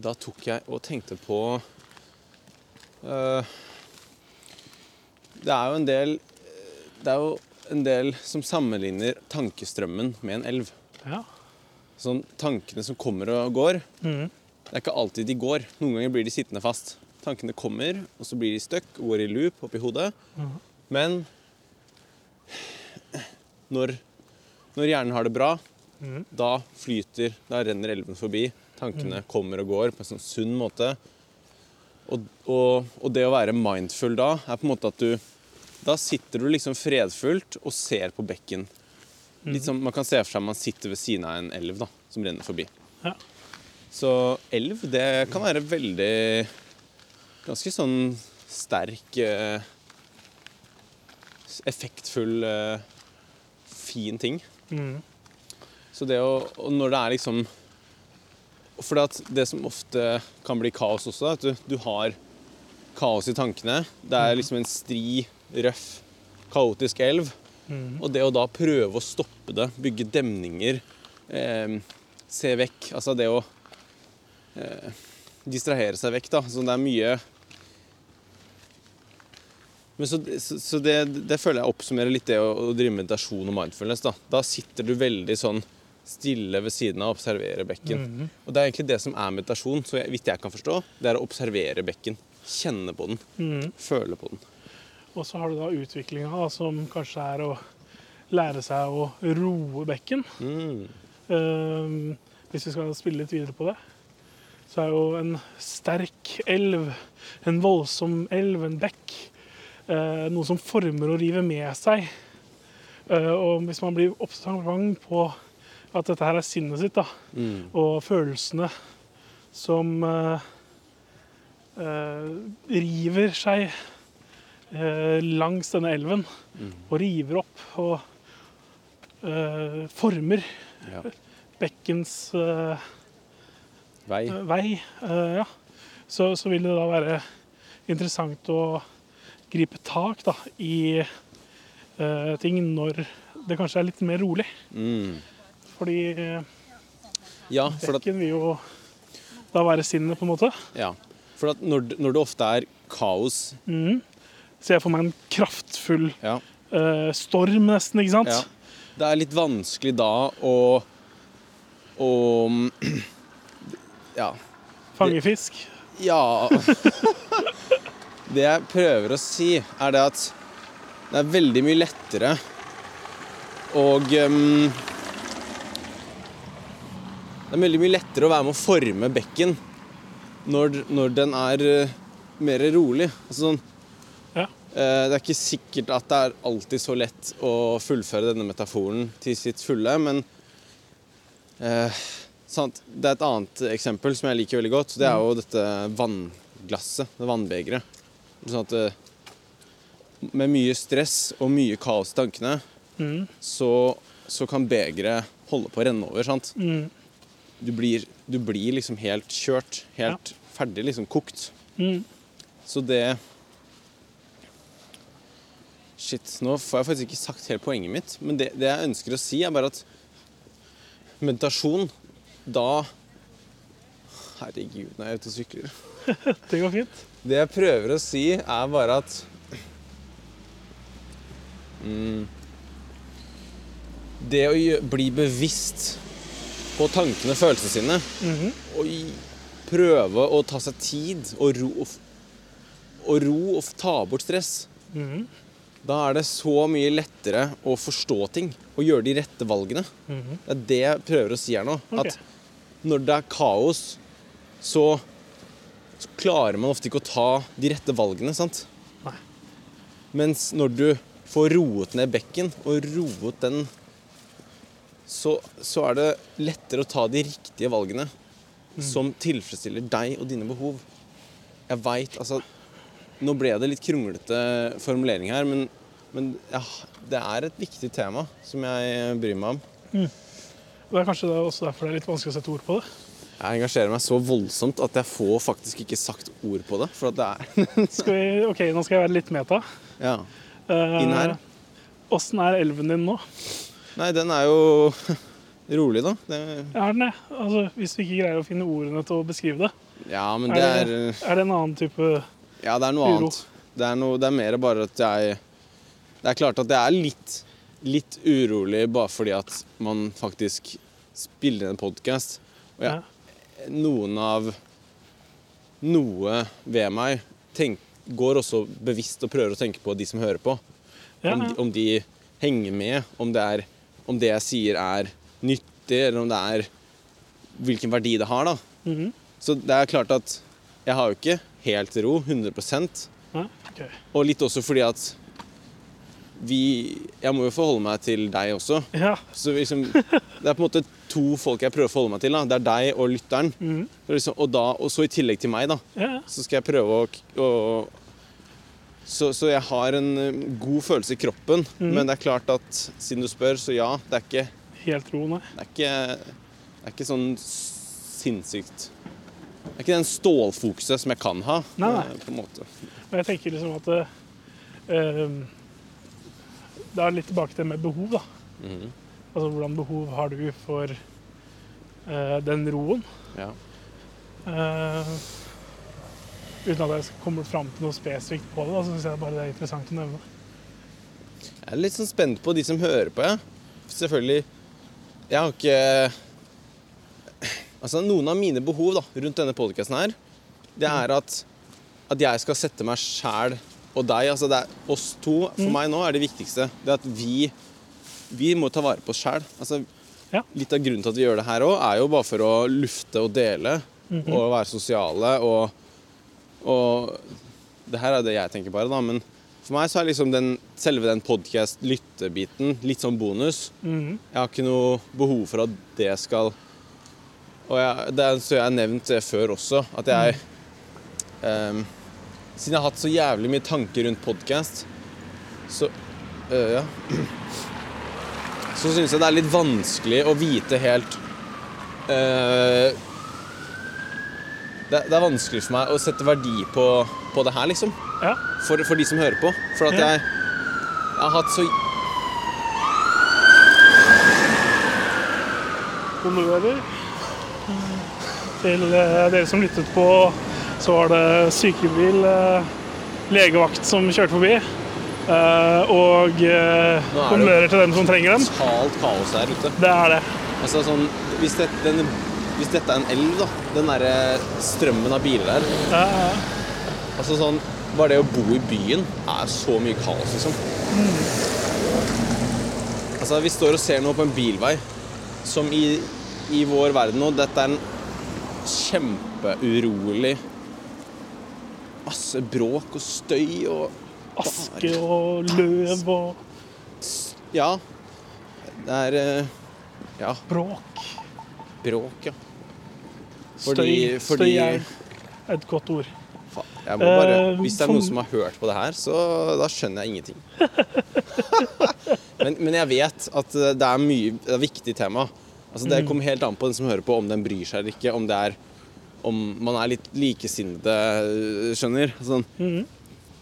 Speaker 1: Da tok jeg og tenkte på eh, Det er jo en del Det er jo en del som sammenligner tankestrømmen med en elv.
Speaker 2: Ja.
Speaker 1: Sånn tankene som kommer og går.
Speaker 2: Mhm.
Speaker 1: Det er ikke alltid de går. Noen ganger blir de sittende fast. Tankene kommer, og så blir de støkk og går i loop oppi hodet. Men når, når hjernen har det bra,
Speaker 2: Mhm.
Speaker 1: da flyter Da renner elven forbi. Tankene kommer og går på en sånn sunn måte. Og, og, og det å være mindful da, er på en måte at du Da sitter du liksom fredfullt og ser på bekken. Litt som man kan se for seg man sitter ved siden av en elv da, som renner forbi.
Speaker 2: Ja.
Speaker 1: Så elv, det kan være veldig Ganske sånn sterk eh, s- Effektfull, eh, fin ting.
Speaker 2: Mhm.
Speaker 1: Så det å Og når det er liksom For det, at det som ofte kan bli kaos også, er at du, du har kaos i tankene. Det er liksom en stri, røff, kaotisk elv.
Speaker 2: Mhm.
Speaker 1: Og det å da prøve å stoppe det, bygge demninger, eh, se vekk Altså det å eh, distrahere seg vekk, da. Så det er mye men så, så, så det, det føler jeg oppsummerer litt det å, å drive med meditasjon og mindfulness. Da. da sitter du veldig sånn stille ved siden av og observerer bekken.
Speaker 2: Mhm.
Speaker 1: Og det er egentlig det som er meditasjon, så jeg, vidt jeg kan forstå. Det er å observere bekken. Kjenne på den.
Speaker 2: Mhm.
Speaker 1: Føle på den.
Speaker 2: Og så har du da utviklinga, som kanskje er å lære seg å roe bekken.
Speaker 1: Mm.
Speaker 2: Ehm, hvis vi skal spille litt videre på det, så er jo en sterk elv, en voldsom elv, en bekk, eh, noe som former og river med seg. Eh, og hvis man blir observant på at dette her er sinnet sitt, da,
Speaker 1: Mm.
Speaker 2: og følelsene som eh, eh, river seg eh, langs denne elven,
Speaker 1: Mm.
Speaker 2: og river opp og eh, former
Speaker 1: Ja.
Speaker 2: bekkens eh,
Speaker 1: Vei.
Speaker 2: vei, eh, ja, så, så vil det da være interessant å gripe tak da, i eh, ting når det kanskje er litt mer rolig.
Speaker 1: Mm.
Speaker 2: Fordi eh,
Speaker 1: Ja, for at
Speaker 2: bekken vil jo da være sinnet, på en måte.
Speaker 1: Ja. For at når, når det ofte er kaos
Speaker 2: Mhm. Ser jeg for meg en kraftfull
Speaker 1: ja,
Speaker 2: eh, storm, nesten, ikke sant?
Speaker 1: ja, Det er litt vanskelig da å Å mm, Ja.
Speaker 2: Fange fisk.
Speaker 1: Ja Det jeg prøver å si, er det at det er veldig mye lettere og ehm, Det er veldig mye lettere å være med å forme bekken når, når den er eh, mer rolig. Altså sånn,
Speaker 2: Ja.
Speaker 1: Eh, Det er ikke sikkert at det er alltid så lett å fullføre denne metaforen til sitt fulle, men eh, sant? Det er et annet eksempel som jeg liker veldig godt. Det er jo dette vannglasset, det vannbegeret. Sånn at eh, med mye stress og mye kaos i tankene,
Speaker 2: Mhm.
Speaker 1: så, så kan begeret holde på å renne over. sant?
Speaker 2: Mhm.
Speaker 1: Du blir, du blir liksom helt kjørt, helt ferdig, liksom kokt.
Speaker 2: Mhm.
Speaker 1: Så det Shit, nå får jeg faktisk ikke sagt helt poenget mitt. Men det, det jeg ønsker å si, er bare at meditasjon, da Herregud, nå er jeg ute og sykler.
Speaker 2: Det går fint.
Speaker 1: Det jeg prøver å si, er bare at mm, Det å gjø- bli bevisst på tankene og følelsene sine,
Speaker 2: Mhm.
Speaker 1: og i- prøve å ta seg tid og ro og, f- og ro og f- ta bort stress,
Speaker 2: Mhm.
Speaker 1: da er det så mye lettere å forstå ting og gjøre de rette valgene.
Speaker 2: Mhm.
Speaker 1: Det er det jeg prøver å si her nå.
Speaker 2: Ok.
Speaker 1: At når det er kaos, så, så klarer man ofte ikke å ta de rette valgene, sant?
Speaker 2: Nei.
Speaker 1: Mens når du får roet ned bekken, og roet den, så, så er det lettere å ta de riktige valgene som tilfredsstiller deg og dine behov. Jeg veit, altså Nå ble det litt kronglete formulering her, men, men ja, det er et viktig tema som jeg bryr meg om.
Speaker 2: Det er kanskje det er også derfor det er litt vanskelig å sette ord på det.
Speaker 1: Jeg engasjerer meg så voldsomt at jeg får faktisk ikke sagt ord på det. For at det er
Speaker 2: Skal vi, ok, Nå skal jeg være litt meta.
Speaker 1: ja.
Speaker 2: Eh,
Speaker 1: Inn her.
Speaker 2: Åssen er elven din nå?
Speaker 1: Nei, den er jo rolig, da. Det,
Speaker 2: Er den det? Altså, hvis du ikke greier å finne ordene til å beskrive det,
Speaker 1: ja, men det
Speaker 2: er
Speaker 1: er eh,
Speaker 2: det, er det en annen type
Speaker 1: Ja, det er noe
Speaker 2: Uro.
Speaker 1: annet. Det er, noe, det er mer bare at jeg Det er klart at det er litt, litt urolig bare fordi at man faktisk spiller en podkast. Og jeg,
Speaker 2: Ja.
Speaker 1: noen av Noe ved meg tenk, går også bevisst og prøver å tenke på de som hører på.
Speaker 2: Ja,
Speaker 1: Om, de,
Speaker 2: ja.
Speaker 1: om de henger med, om det, er, om det jeg sier er nyttig, eller om det er hvilken verdi det har. da.
Speaker 2: Mhm.
Speaker 1: Så det er klart at jeg har jo ikke helt ro, 100
Speaker 2: Nei? Ok.
Speaker 1: og litt også fordi at vi Jeg må jo forholde meg til deg også.
Speaker 2: Ja.
Speaker 1: Så liksom, det er på en måte to folk jeg prøver å forholde meg til. Da. Det er deg og lytteren.
Speaker 2: Mhm.
Speaker 1: Og, liksom, og, da, og så i tillegg til meg, da.
Speaker 2: ja. ja.
Speaker 1: Så skal jeg prøve å, å så, så jeg har en eh, god følelse i kroppen.
Speaker 2: Mm.
Speaker 1: Men det er klart at siden du spør, så ja. Det er ikke,
Speaker 2: Helt ro, nei.
Speaker 1: det er ikke, det er ikke sånn sinnssykt Det er ikke den stålfokuset som jeg kan ha.
Speaker 2: Nei, nei.
Speaker 1: eh, På en måte.
Speaker 2: Men jeg tenker liksom at eh, ehm, Det er litt tilbake til det med behov, da.
Speaker 1: Mhm.
Speaker 2: Altså hvordan behov har du for eh, den roen?
Speaker 1: Ja.
Speaker 2: Eh, uten at jeg kommer fram til noe spesifikt på det, da, så syns jeg bare det er interessant å nevne.
Speaker 1: Jeg er litt sånn spent på de som hører på, jeg. Selvfølgelig Jeg har ikke Altså, noen av mine behov da, rundt denne podkasten her, det er at, at jeg skal sette meg sjæl og deg Altså, det er oss to for meg nå er det viktigste. Det er at vi Vi må ta vare på oss sjæl. Altså,
Speaker 2: Ja.
Speaker 1: litt av grunnen til at vi gjør det her òg, er jo bare for å lufte og dele. Og være sosiale og og det her er det jeg tenker bare, da, men for meg så er liksom den, selve den podkast-lyttebiten litt sånn bonus.
Speaker 2: Mhm.
Speaker 1: Jeg har ikke noe behov for at det skal Og jeg, det er, så jeg har nevnt det før også, at jeg ehm, Siden jeg har hatt så jævlig mye tanker rundt podkast, så øh, ja. Så syns jeg det er litt vanskelig å vite helt eh, det, det er vanskelig for meg å sette verdi på, på det her, liksom.
Speaker 2: Ja.
Speaker 1: For, for de som hører på. For at
Speaker 2: Ja.
Speaker 1: jeg, jeg har hatt så
Speaker 2: Honnører til eh, dere som lyttet på. Så var det sykebil, eh, legevakt som kjørte forbi, eh, og
Speaker 1: Nå
Speaker 2: eh,
Speaker 1: er det-
Speaker 2: honnører til dem som trenger dem.
Speaker 1: totalt kaos der ute.
Speaker 2: Det er det.
Speaker 1: Altså sånn Hvis, det, den, hvis dette er en elv, da. Den derre strømmen av biler der.
Speaker 2: Ja, ja, ja.
Speaker 1: Altså sånn Bare det å bo i byen er så mye kaos, liksom. Altså, vi står og ser nå på en bilvei som i, i vår verden nå Dette er en kjempeurolig Masse bråk og støy og
Speaker 2: Aske og løv og
Speaker 1: Ja. Det er eh, Ja,
Speaker 2: bråk.
Speaker 1: bråk, ja.
Speaker 2: Støy.
Speaker 1: Fordi- fordi-
Speaker 2: Støy er et godt ord.
Speaker 1: Faen, jeg må bare,
Speaker 2: Eh,
Speaker 1: hvis det er
Speaker 2: for-
Speaker 1: noen som har hørt på det her, så da skjønner jeg ingenting. men, men jeg vet at eh, det er mye det er et viktig tema. Altså,
Speaker 2: Mm.
Speaker 1: det kommer helt an på den som hører på, om den bryr seg eller ikke. Om, det er, om man er litt likesinnede, eh, skjønner. Sånn.
Speaker 2: Mm.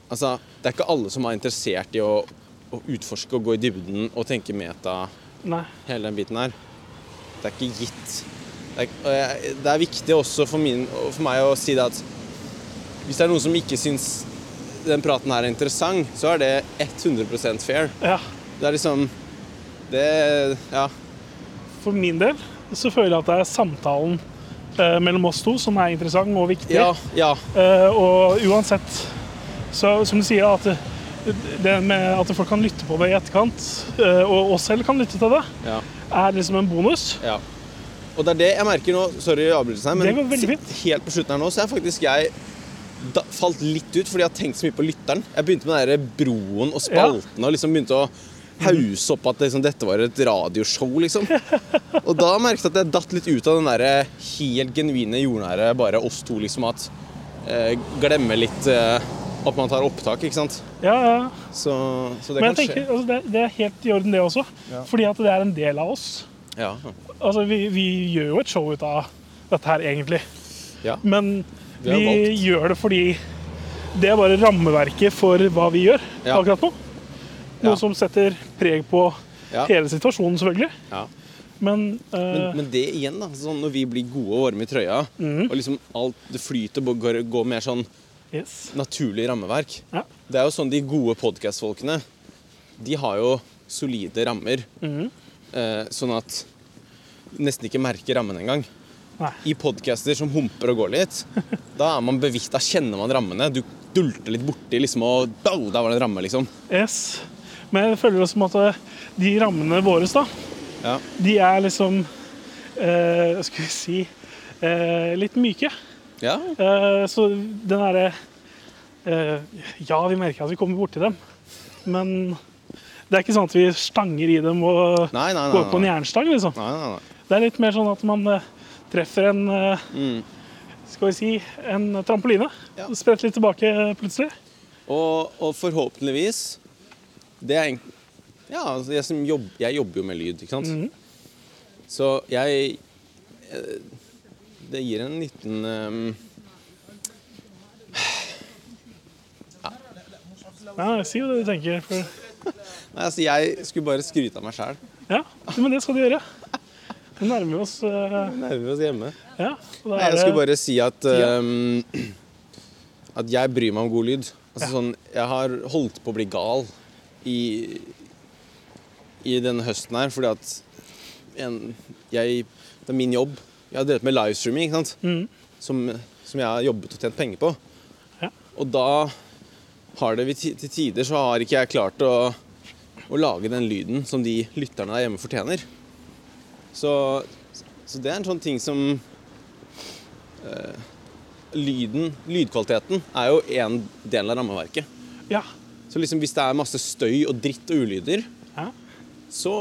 Speaker 1: Altså, det er ikke alle som er interessert i å, å utforske og gå i dybden og tenke meta
Speaker 2: Nei.
Speaker 1: hele den biten her. Det er ikke gitt. Det er, og jeg, det er viktig også for, min, og for meg å si det at hvis det er noen som ikke syns den praten her er interessant, så er det 100 fair.
Speaker 2: Ja.
Speaker 1: Det er liksom Det Ja.
Speaker 2: For min del så føler jeg at det er samtalen eh, mellom oss to som er interessant og viktig.
Speaker 1: Ja. ja.
Speaker 2: Eh, og uansett, så, som du sier, at det- det med at folk kan lytte på det i etterkant, eh, og oss selv kan lytte til det,
Speaker 1: ja,
Speaker 2: er liksom en bonus.
Speaker 1: ja. Og det er det jeg merker nå Sorry avbrytelsen her,
Speaker 2: Det
Speaker 1: men
Speaker 2: går veldig fint.
Speaker 1: helt på slutten her nå så er faktisk jeg da, falt litt ut fordi jeg har tenkt så mye på lytteren. Jeg begynte med den der broen og spalten og liksom begynte å hause opp at liksom, dette var et radioshow, liksom. Og da merket jeg at jeg datt litt ut av den der helt genuine jordnære bare oss to, liksom at eh, Glemme litt eh, at man tar opptak, ikke sant.
Speaker 2: Ja, ja.
Speaker 1: Så, så det
Speaker 2: Men jeg
Speaker 1: kan
Speaker 2: tenker,
Speaker 1: skje.
Speaker 2: altså, det, er- det er helt i orden, det også.
Speaker 1: Ja.
Speaker 2: Fordi at det er en del av oss.
Speaker 1: Ja.
Speaker 2: Altså, vi, vi gjør jo et show ut av dette her, egentlig.
Speaker 1: Ja.
Speaker 2: Men
Speaker 1: Vi har
Speaker 2: vi
Speaker 1: valgt.
Speaker 2: gjør det fordi det er bare rammeverket for hva vi gjør
Speaker 1: Ja.
Speaker 2: akkurat nå. Noe
Speaker 1: Ja.
Speaker 2: som setter preg på
Speaker 1: Ja.
Speaker 2: hele situasjonen, selvfølgelig.
Speaker 1: ja.
Speaker 2: Men, eh,
Speaker 1: Men, men det igjen, da. Sånn når vi blir gode og varme i trøya, og liksom alt det flyter og går, går mer sånn
Speaker 2: yes.
Speaker 1: naturlig rammeverk
Speaker 2: Ja.
Speaker 1: Det er jo sånn de gode podkastfolkene De har jo solide rammer, eh, sånn at du nesten ikke merker rammen engang.
Speaker 2: Nei.
Speaker 1: I podcaster som humper og går litt, da er man bevisst, da kjenner man rammene. Du dulter litt borti liksom, og «Dau, der var det en ramme, liksom.
Speaker 2: Yes. Men jeg føler det som at eh, de rammene våre, da,
Speaker 1: Ja.
Speaker 2: de er liksom eh, Hva skal vi si eh, Litt myke.
Speaker 1: ja.
Speaker 2: Eh, så den derre eh, Ja, vi merker at vi kommer borti dem, men det er ikke sånn at vi stanger i dem og
Speaker 1: Nei, nei, nei.
Speaker 2: går på en
Speaker 1: nei.
Speaker 2: jernstang, liksom.
Speaker 1: Nei, nei, nei.
Speaker 2: Det er litt mer sånn at man eh, treffer en eh, Skal vi si en trampoline.
Speaker 1: Mm. Ja.
Speaker 2: Spredt litt tilbake eh, plutselig.
Speaker 1: Og, og forhåpentligvis Det er egentlig Ja, altså jeg, som jobb, jeg jobber jo med lyd, ikke sant? Så jeg eh, Det gir en liten ehm,
Speaker 2: Ja, si jo det du tenker. For
Speaker 1: Nei, altså jeg skulle bare skryte av meg sjæl.
Speaker 2: Ja, men det skal du gjøre. Nå nærmer vi oss eh,
Speaker 1: Nerver oss hjemme.
Speaker 2: Ja. og da
Speaker 1: Nei,
Speaker 2: er
Speaker 1: jeg skulle
Speaker 2: det-
Speaker 1: bare si at ehm, At jeg bryr meg om god lyd. Altså sånn Jeg har holdt på å bli gal i I denne høsten her, fordi at en, jeg Det er min jobb. Jeg har drevet med livestreaming, ikke sant? Som, som jeg har jobbet og tjent penger på.
Speaker 2: Ja.
Speaker 1: Og da har det vi ti- til tider så har ikke jeg klart å, å lage den lyden som de lytterne der hjemme fortjener. Så, så det er en sånn ting som eh, Lyden, lydkvaliteten, er jo en del av rammeverket.
Speaker 2: Ja.
Speaker 1: Så liksom hvis det er masse støy og dritt og ulyder,
Speaker 2: ja.
Speaker 1: så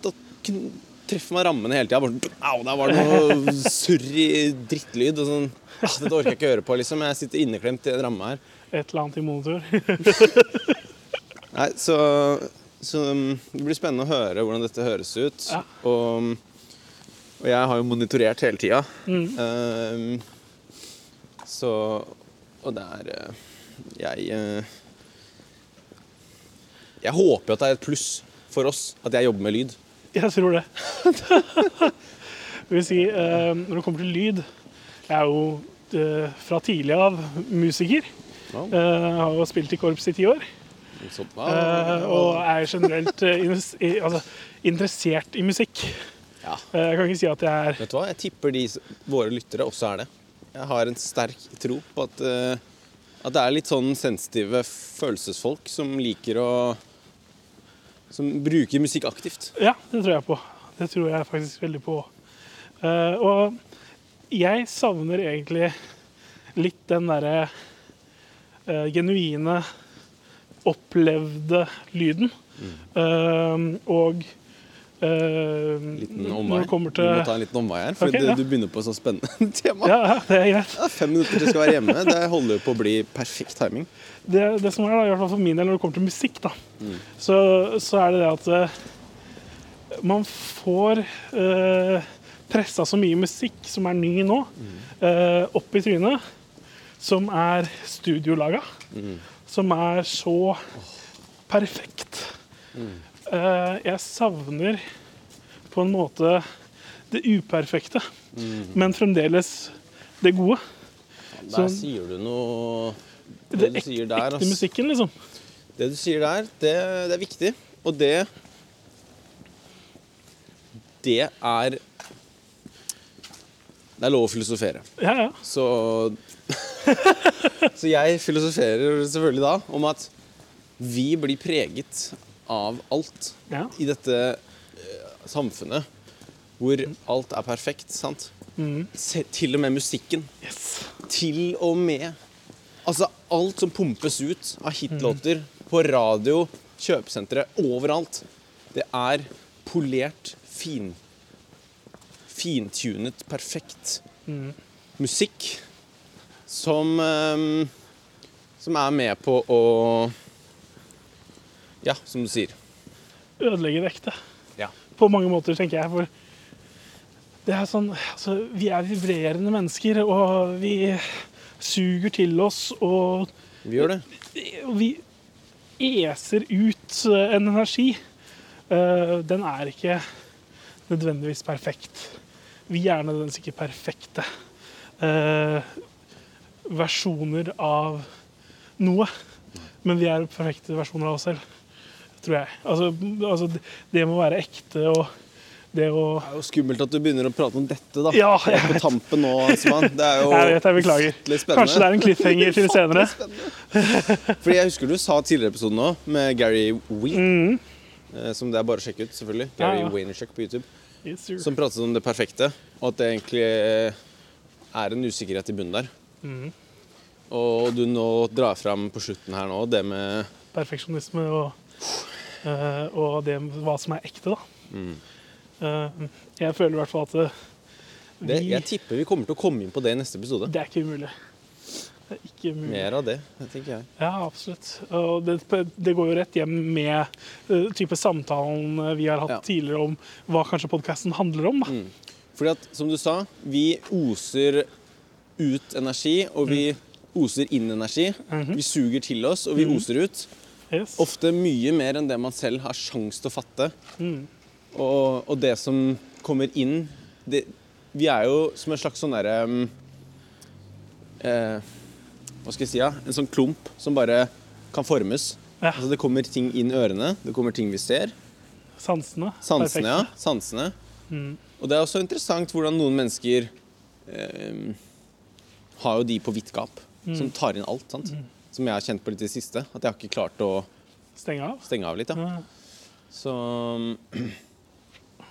Speaker 1: da kn- treffer man rammene hele tida. Au, der var det noe surrig drittlyd. Og sånn. Ah, dette orker jeg ikke høre på, liksom. Jeg sitter inneklemt i en ramme her.
Speaker 2: Et eller annet i monitor.
Speaker 1: Nei, så, så um, det blir spennende å høre hvordan dette høres ut.
Speaker 2: Ja.
Speaker 1: Og, og jeg har jo monitorert hele tida.
Speaker 2: Mm.
Speaker 1: Um, så Og det er eh, Jeg eh, Jeg håper jo at det er et pluss for oss at jeg jobber med lyd.
Speaker 2: Jeg tror det. Det vil si, eh, når det kommer til lyd Jeg er jo eh, fra tidlig av musiker.
Speaker 1: Wow.
Speaker 2: Eh, har jo spilt i korps i ti år.
Speaker 1: Så,
Speaker 2: eh, og er generelt eh, invest- i- altså, interessert i musikk.
Speaker 1: ja.
Speaker 2: Eh, jeg kan ikke si at jeg er
Speaker 1: Vet du hva? Jeg tipper de, s- våre lyttere også er det. Jeg har en sterk tro på at, eh, at det er litt sånn sensitive følelsesfolk som liker å Som bruker musikk aktivt.
Speaker 2: Ja, det tror jeg på. Det tror jeg faktisk veldig på. Eh, og jeg savner egentlig litt den derre eh, genuine, opplevde lyden.
Speaker 1: Mm.
Speaker 2: Eh, og eh,
Speaker 1: Liten
Speaker 2: når
Speaker 1: omvei.
Speaker 2: det kommer
Speaker 1: Vi må
Speaker 2: til
Speaker 1: ta en liten omvei her, for
Speaker 2: Ok,
Speaker 1: du,
Speaker 2: ja.
Speaker 1: du begynner på et sånt spennende tema.
Speaker 2: ja, ja, det er greit.
Speaker 1: Det er Fem minutter til jeg skal være hjemme. Det holder jo på å bli perfekt timing.
Speaker 2: det, det som er da, i hvert fall for min del når det kommer til musikk, da, så, så er det det at eh, man får uh, pressa så mye musikk som er ny nå, eh, opp i trynet, som er studiolaga, som er så perfekt. Eh, jeg savner på en måte det uperfekte, men fremdeles det gode.
Speaker 1: Der
Speaker 2: Så-
Speaker 1: sier du noe
Speaker 2: Sånn. Det
Speaker 1: Det du
Speaker 2: ekte,
Speaker 1: sier der, altså.
Speaker 2: ekte
Speaker 1: ass.
Speaker 2: musikken, liksom.
Speaker 1: Det du sier der, det, det er viktig. Og det Det er Det er lov å filosofere.
Speaker 2: Ja, ja.
Speaker 1: Så Så jeg filosoferer selvfølgelig da om at vi blir preget av alt
Speaker 2: Ja.
Speaker 1: i dette eh, samfunnet hvor alt er perfekt, sant? Se, til og med musikken.
Speaker 2: Yes.
Speaker 1: Til og med Altså alt som pumpes ut av hitlåter på radio, kjøpesentre, overalt, det er polert, fin fintunet, perfekt musikk som eh, Som er med på å Ja, som du sier.
Speaker 2: Ødelegge det ekte.
Speaker 1: Ja.
Speaker 2: På mange måter, tenker jeg. For det er sånn altså, Vi er vibrerende mennesker, og vi suger til oss, og
Speaker 1: Vi gjør det.
Speaker 2: vi eser ut en energi. Eh, Den er ikke nødvendigvis perfekt. Vi er nødvendigvis ikke perfekte eh, versjoner av noe. Men vi er perfekte versjoner av oss selv, tror jeg. Altså, altså det- det med å være ekte og det å
Speaker 1: Det er jo skummelt at du begynner å prate om dette, da.
Speaker 2: Ja, jeg
Speaker 1: på tampen nå, Svan. Det er jo
Speaker 2: Jeg vet, jeg beklager.
Speaker 1: litt spennende.
Speaker 2: Kanskje det er en cliffhanger til senere.
Speaker 1: Fordi jeg husker du sa tidligere i episoden nå, med Gary Wee, eh, som det er bare å sjekke ut, selvfølgelig.
Speaker 2: Ja,
Speaker 1: Gary
Speaker 2: Mm. ja.
Speaker 1: Vaynerchuk på YouTube.
Speaker 2: Yes, sir.
Speaker 1: Som pratet om det perfekte, og at det egentlig eh, er en usikkerhet i bunnen der.
Speaker 2: Mm.
Speaker 1: Og du nå drar fram på slutten her nå det med
Speaker 2: perfeksjonisme og, eh, og det, hva som er ekte, da.
Speaker 1: Mm.
Speaker 2: Eh, jeg føler i hvert fall at det, vi,
Speaker 1: det, Jeg
Speaker 2: det,
Speaker 1: tipper vi kommer til å komme inn på det i neste episode.
Speaker 2: er ikke umulig. Det er ikke umulig.
Speaker 1: Mer av det, tenker jeg.
Speaker 2: Ja, absolutt. Og det, det går jo rett hjem med eh, type samtalen eh, vi har hatt
Speaker 1: Ja. Mm.
Speaker 2: tidligere om hva kanskje podkasten handler om. Da.
Speaker 1: Fordi at, som du sa, vi oser ut energi, og vi
Speaker 2: Mm.
Speaker 1: oser inn energi.
Speaker 2: Mhm.
Speaker 1: Vi suger til oss, og vi oser ut.
Speaker 2: Yes.
Speaker 1: Ofte mye mer enn det man selv har sjans til å fatte. Og, og det som kommer inn det, Vi er jo som en slags sånn derre um, eh, Hva skal jeg si? Ja? En sånn klump som bare kan formes.
Speaker 2: Ja.
Speaker 1: Altså, det kommer ting inn ørene, det kommer ting vi ser.
Speaker 2: Sansene.
Speaker 1: Sansene, ja.
Speaker 2: Perfekte.
Speaker 1: Sansene. Og det er også interessant hvordan noen mennesker eh, har jo de på vidt gap, som tar inn alt. sant? Som jeg har kjent på litt i det siste. At jeg har ikke klart å
Speaker 2: Stenge av. Eh,
Speaker 1: stenge av litt. da.
Speaker 2: Ja.
Speaker 1: Så mm,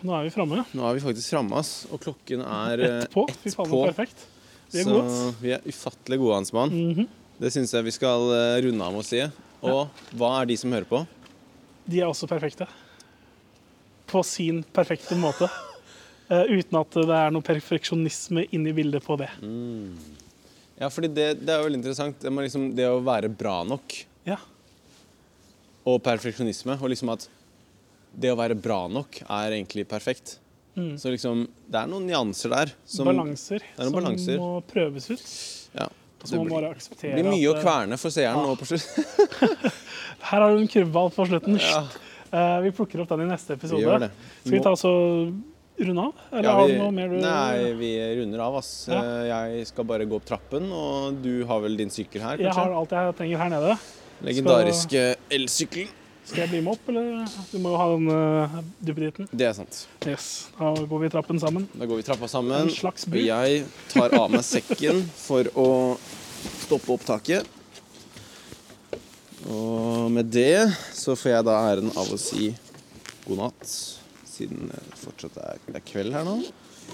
Speaker 2: Nå er vi framme.
Speaker 1: nå er vi faktisk framme, ass. Og klokken er eh,
Speaker 2: Ett på. Fy
Speaker 1: ett
Speaker 2: faen,
Speaker 1: på.
Speaker 2: perfekt. Vi er
Speaker 1: så
Speaker 2: gode. ass. Mhm.
Speaker 1: vi er ufattelig gode, Hans Mann. Det syns jeg vi skal eh, runde av med å si. Og hva er de som hører på?
Speaker 2: De er også perfekte. På sin perfekte måte. Eh, uten at det er noe perfeksjonisme inni bildet på det.
Speaker 1: Mm. Ja, fordi det, det er jo veldig interessant. Det, må liksom, det å være bra nok
Speaker 2: Ja.
Speaker 1: og perfeksjonisme. Og liksom at det å være bra nok er egentlig perfekt.
Speaker 2: Mm.
Speaker 1: Så liksom, det er noen nyanser der. Som,
Speaker 2: balanser
Speaker 1: er noen
Speaker 2: som
Speaker 1: balanser.
Speaker 2: må prøves ut.
Speaker 1: Ja,
Speaker 2: Og
Speaker 1: det
Speaker 2: så må man
Speaker 1: blir,
Speaker 2: bare akseptere
Speaker 1: blir mye å
Speaker 2: at, eh,
Speaker 1: kverne for seeren nå på slutt.
Speaker 2: Her har du en kurvball på slutten.
Speaker 1: Ja,
Speaker 2: Eh, vi plukker opp den i neste episode.
Speaker 1: vi gjør det.
Speaker 2: Skal vi ta oss og runde av? Eller
Speaker 1: Ja,
Speaker 2: har
Speaker 1: vi,
Speaker 2: du noe mer du
Speaker 1: nei, vi runder av, ass.
Speaker 2: Ja.
Speaker 1: Eh, Jeg skal bare gå opp trappen, og du har vel din sykkel her,
Speaker 2: Jeg har
Speaker 1: kanskje?
Speaker 2: alt jeg trenger her nede.
Speaker 1: Legendariske elsykkelen.
Speaker 2: Skal jeg bli med opp, eller? Du må jo ha den uh, duppeditten.
Speaker 1: Det er sant.
Speaker 2: Yes. Da går vi i trappen sammen.
Speaker 1: Da går vi trappa sammen,
Speaker 2: En slags
Speaker 1: og
Speaker 2: bur.
Speaker 1: jeg tar av meg sekken for å stoppe opptaket. Og med det så får jeg da æren av å si god natt, siden det fortsatt er, det er kveld her nå.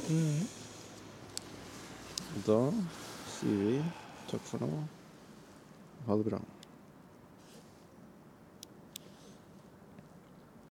Speaker 2: Mm.
Speaker 1: Da sier vi takk for nå. Ha det bra.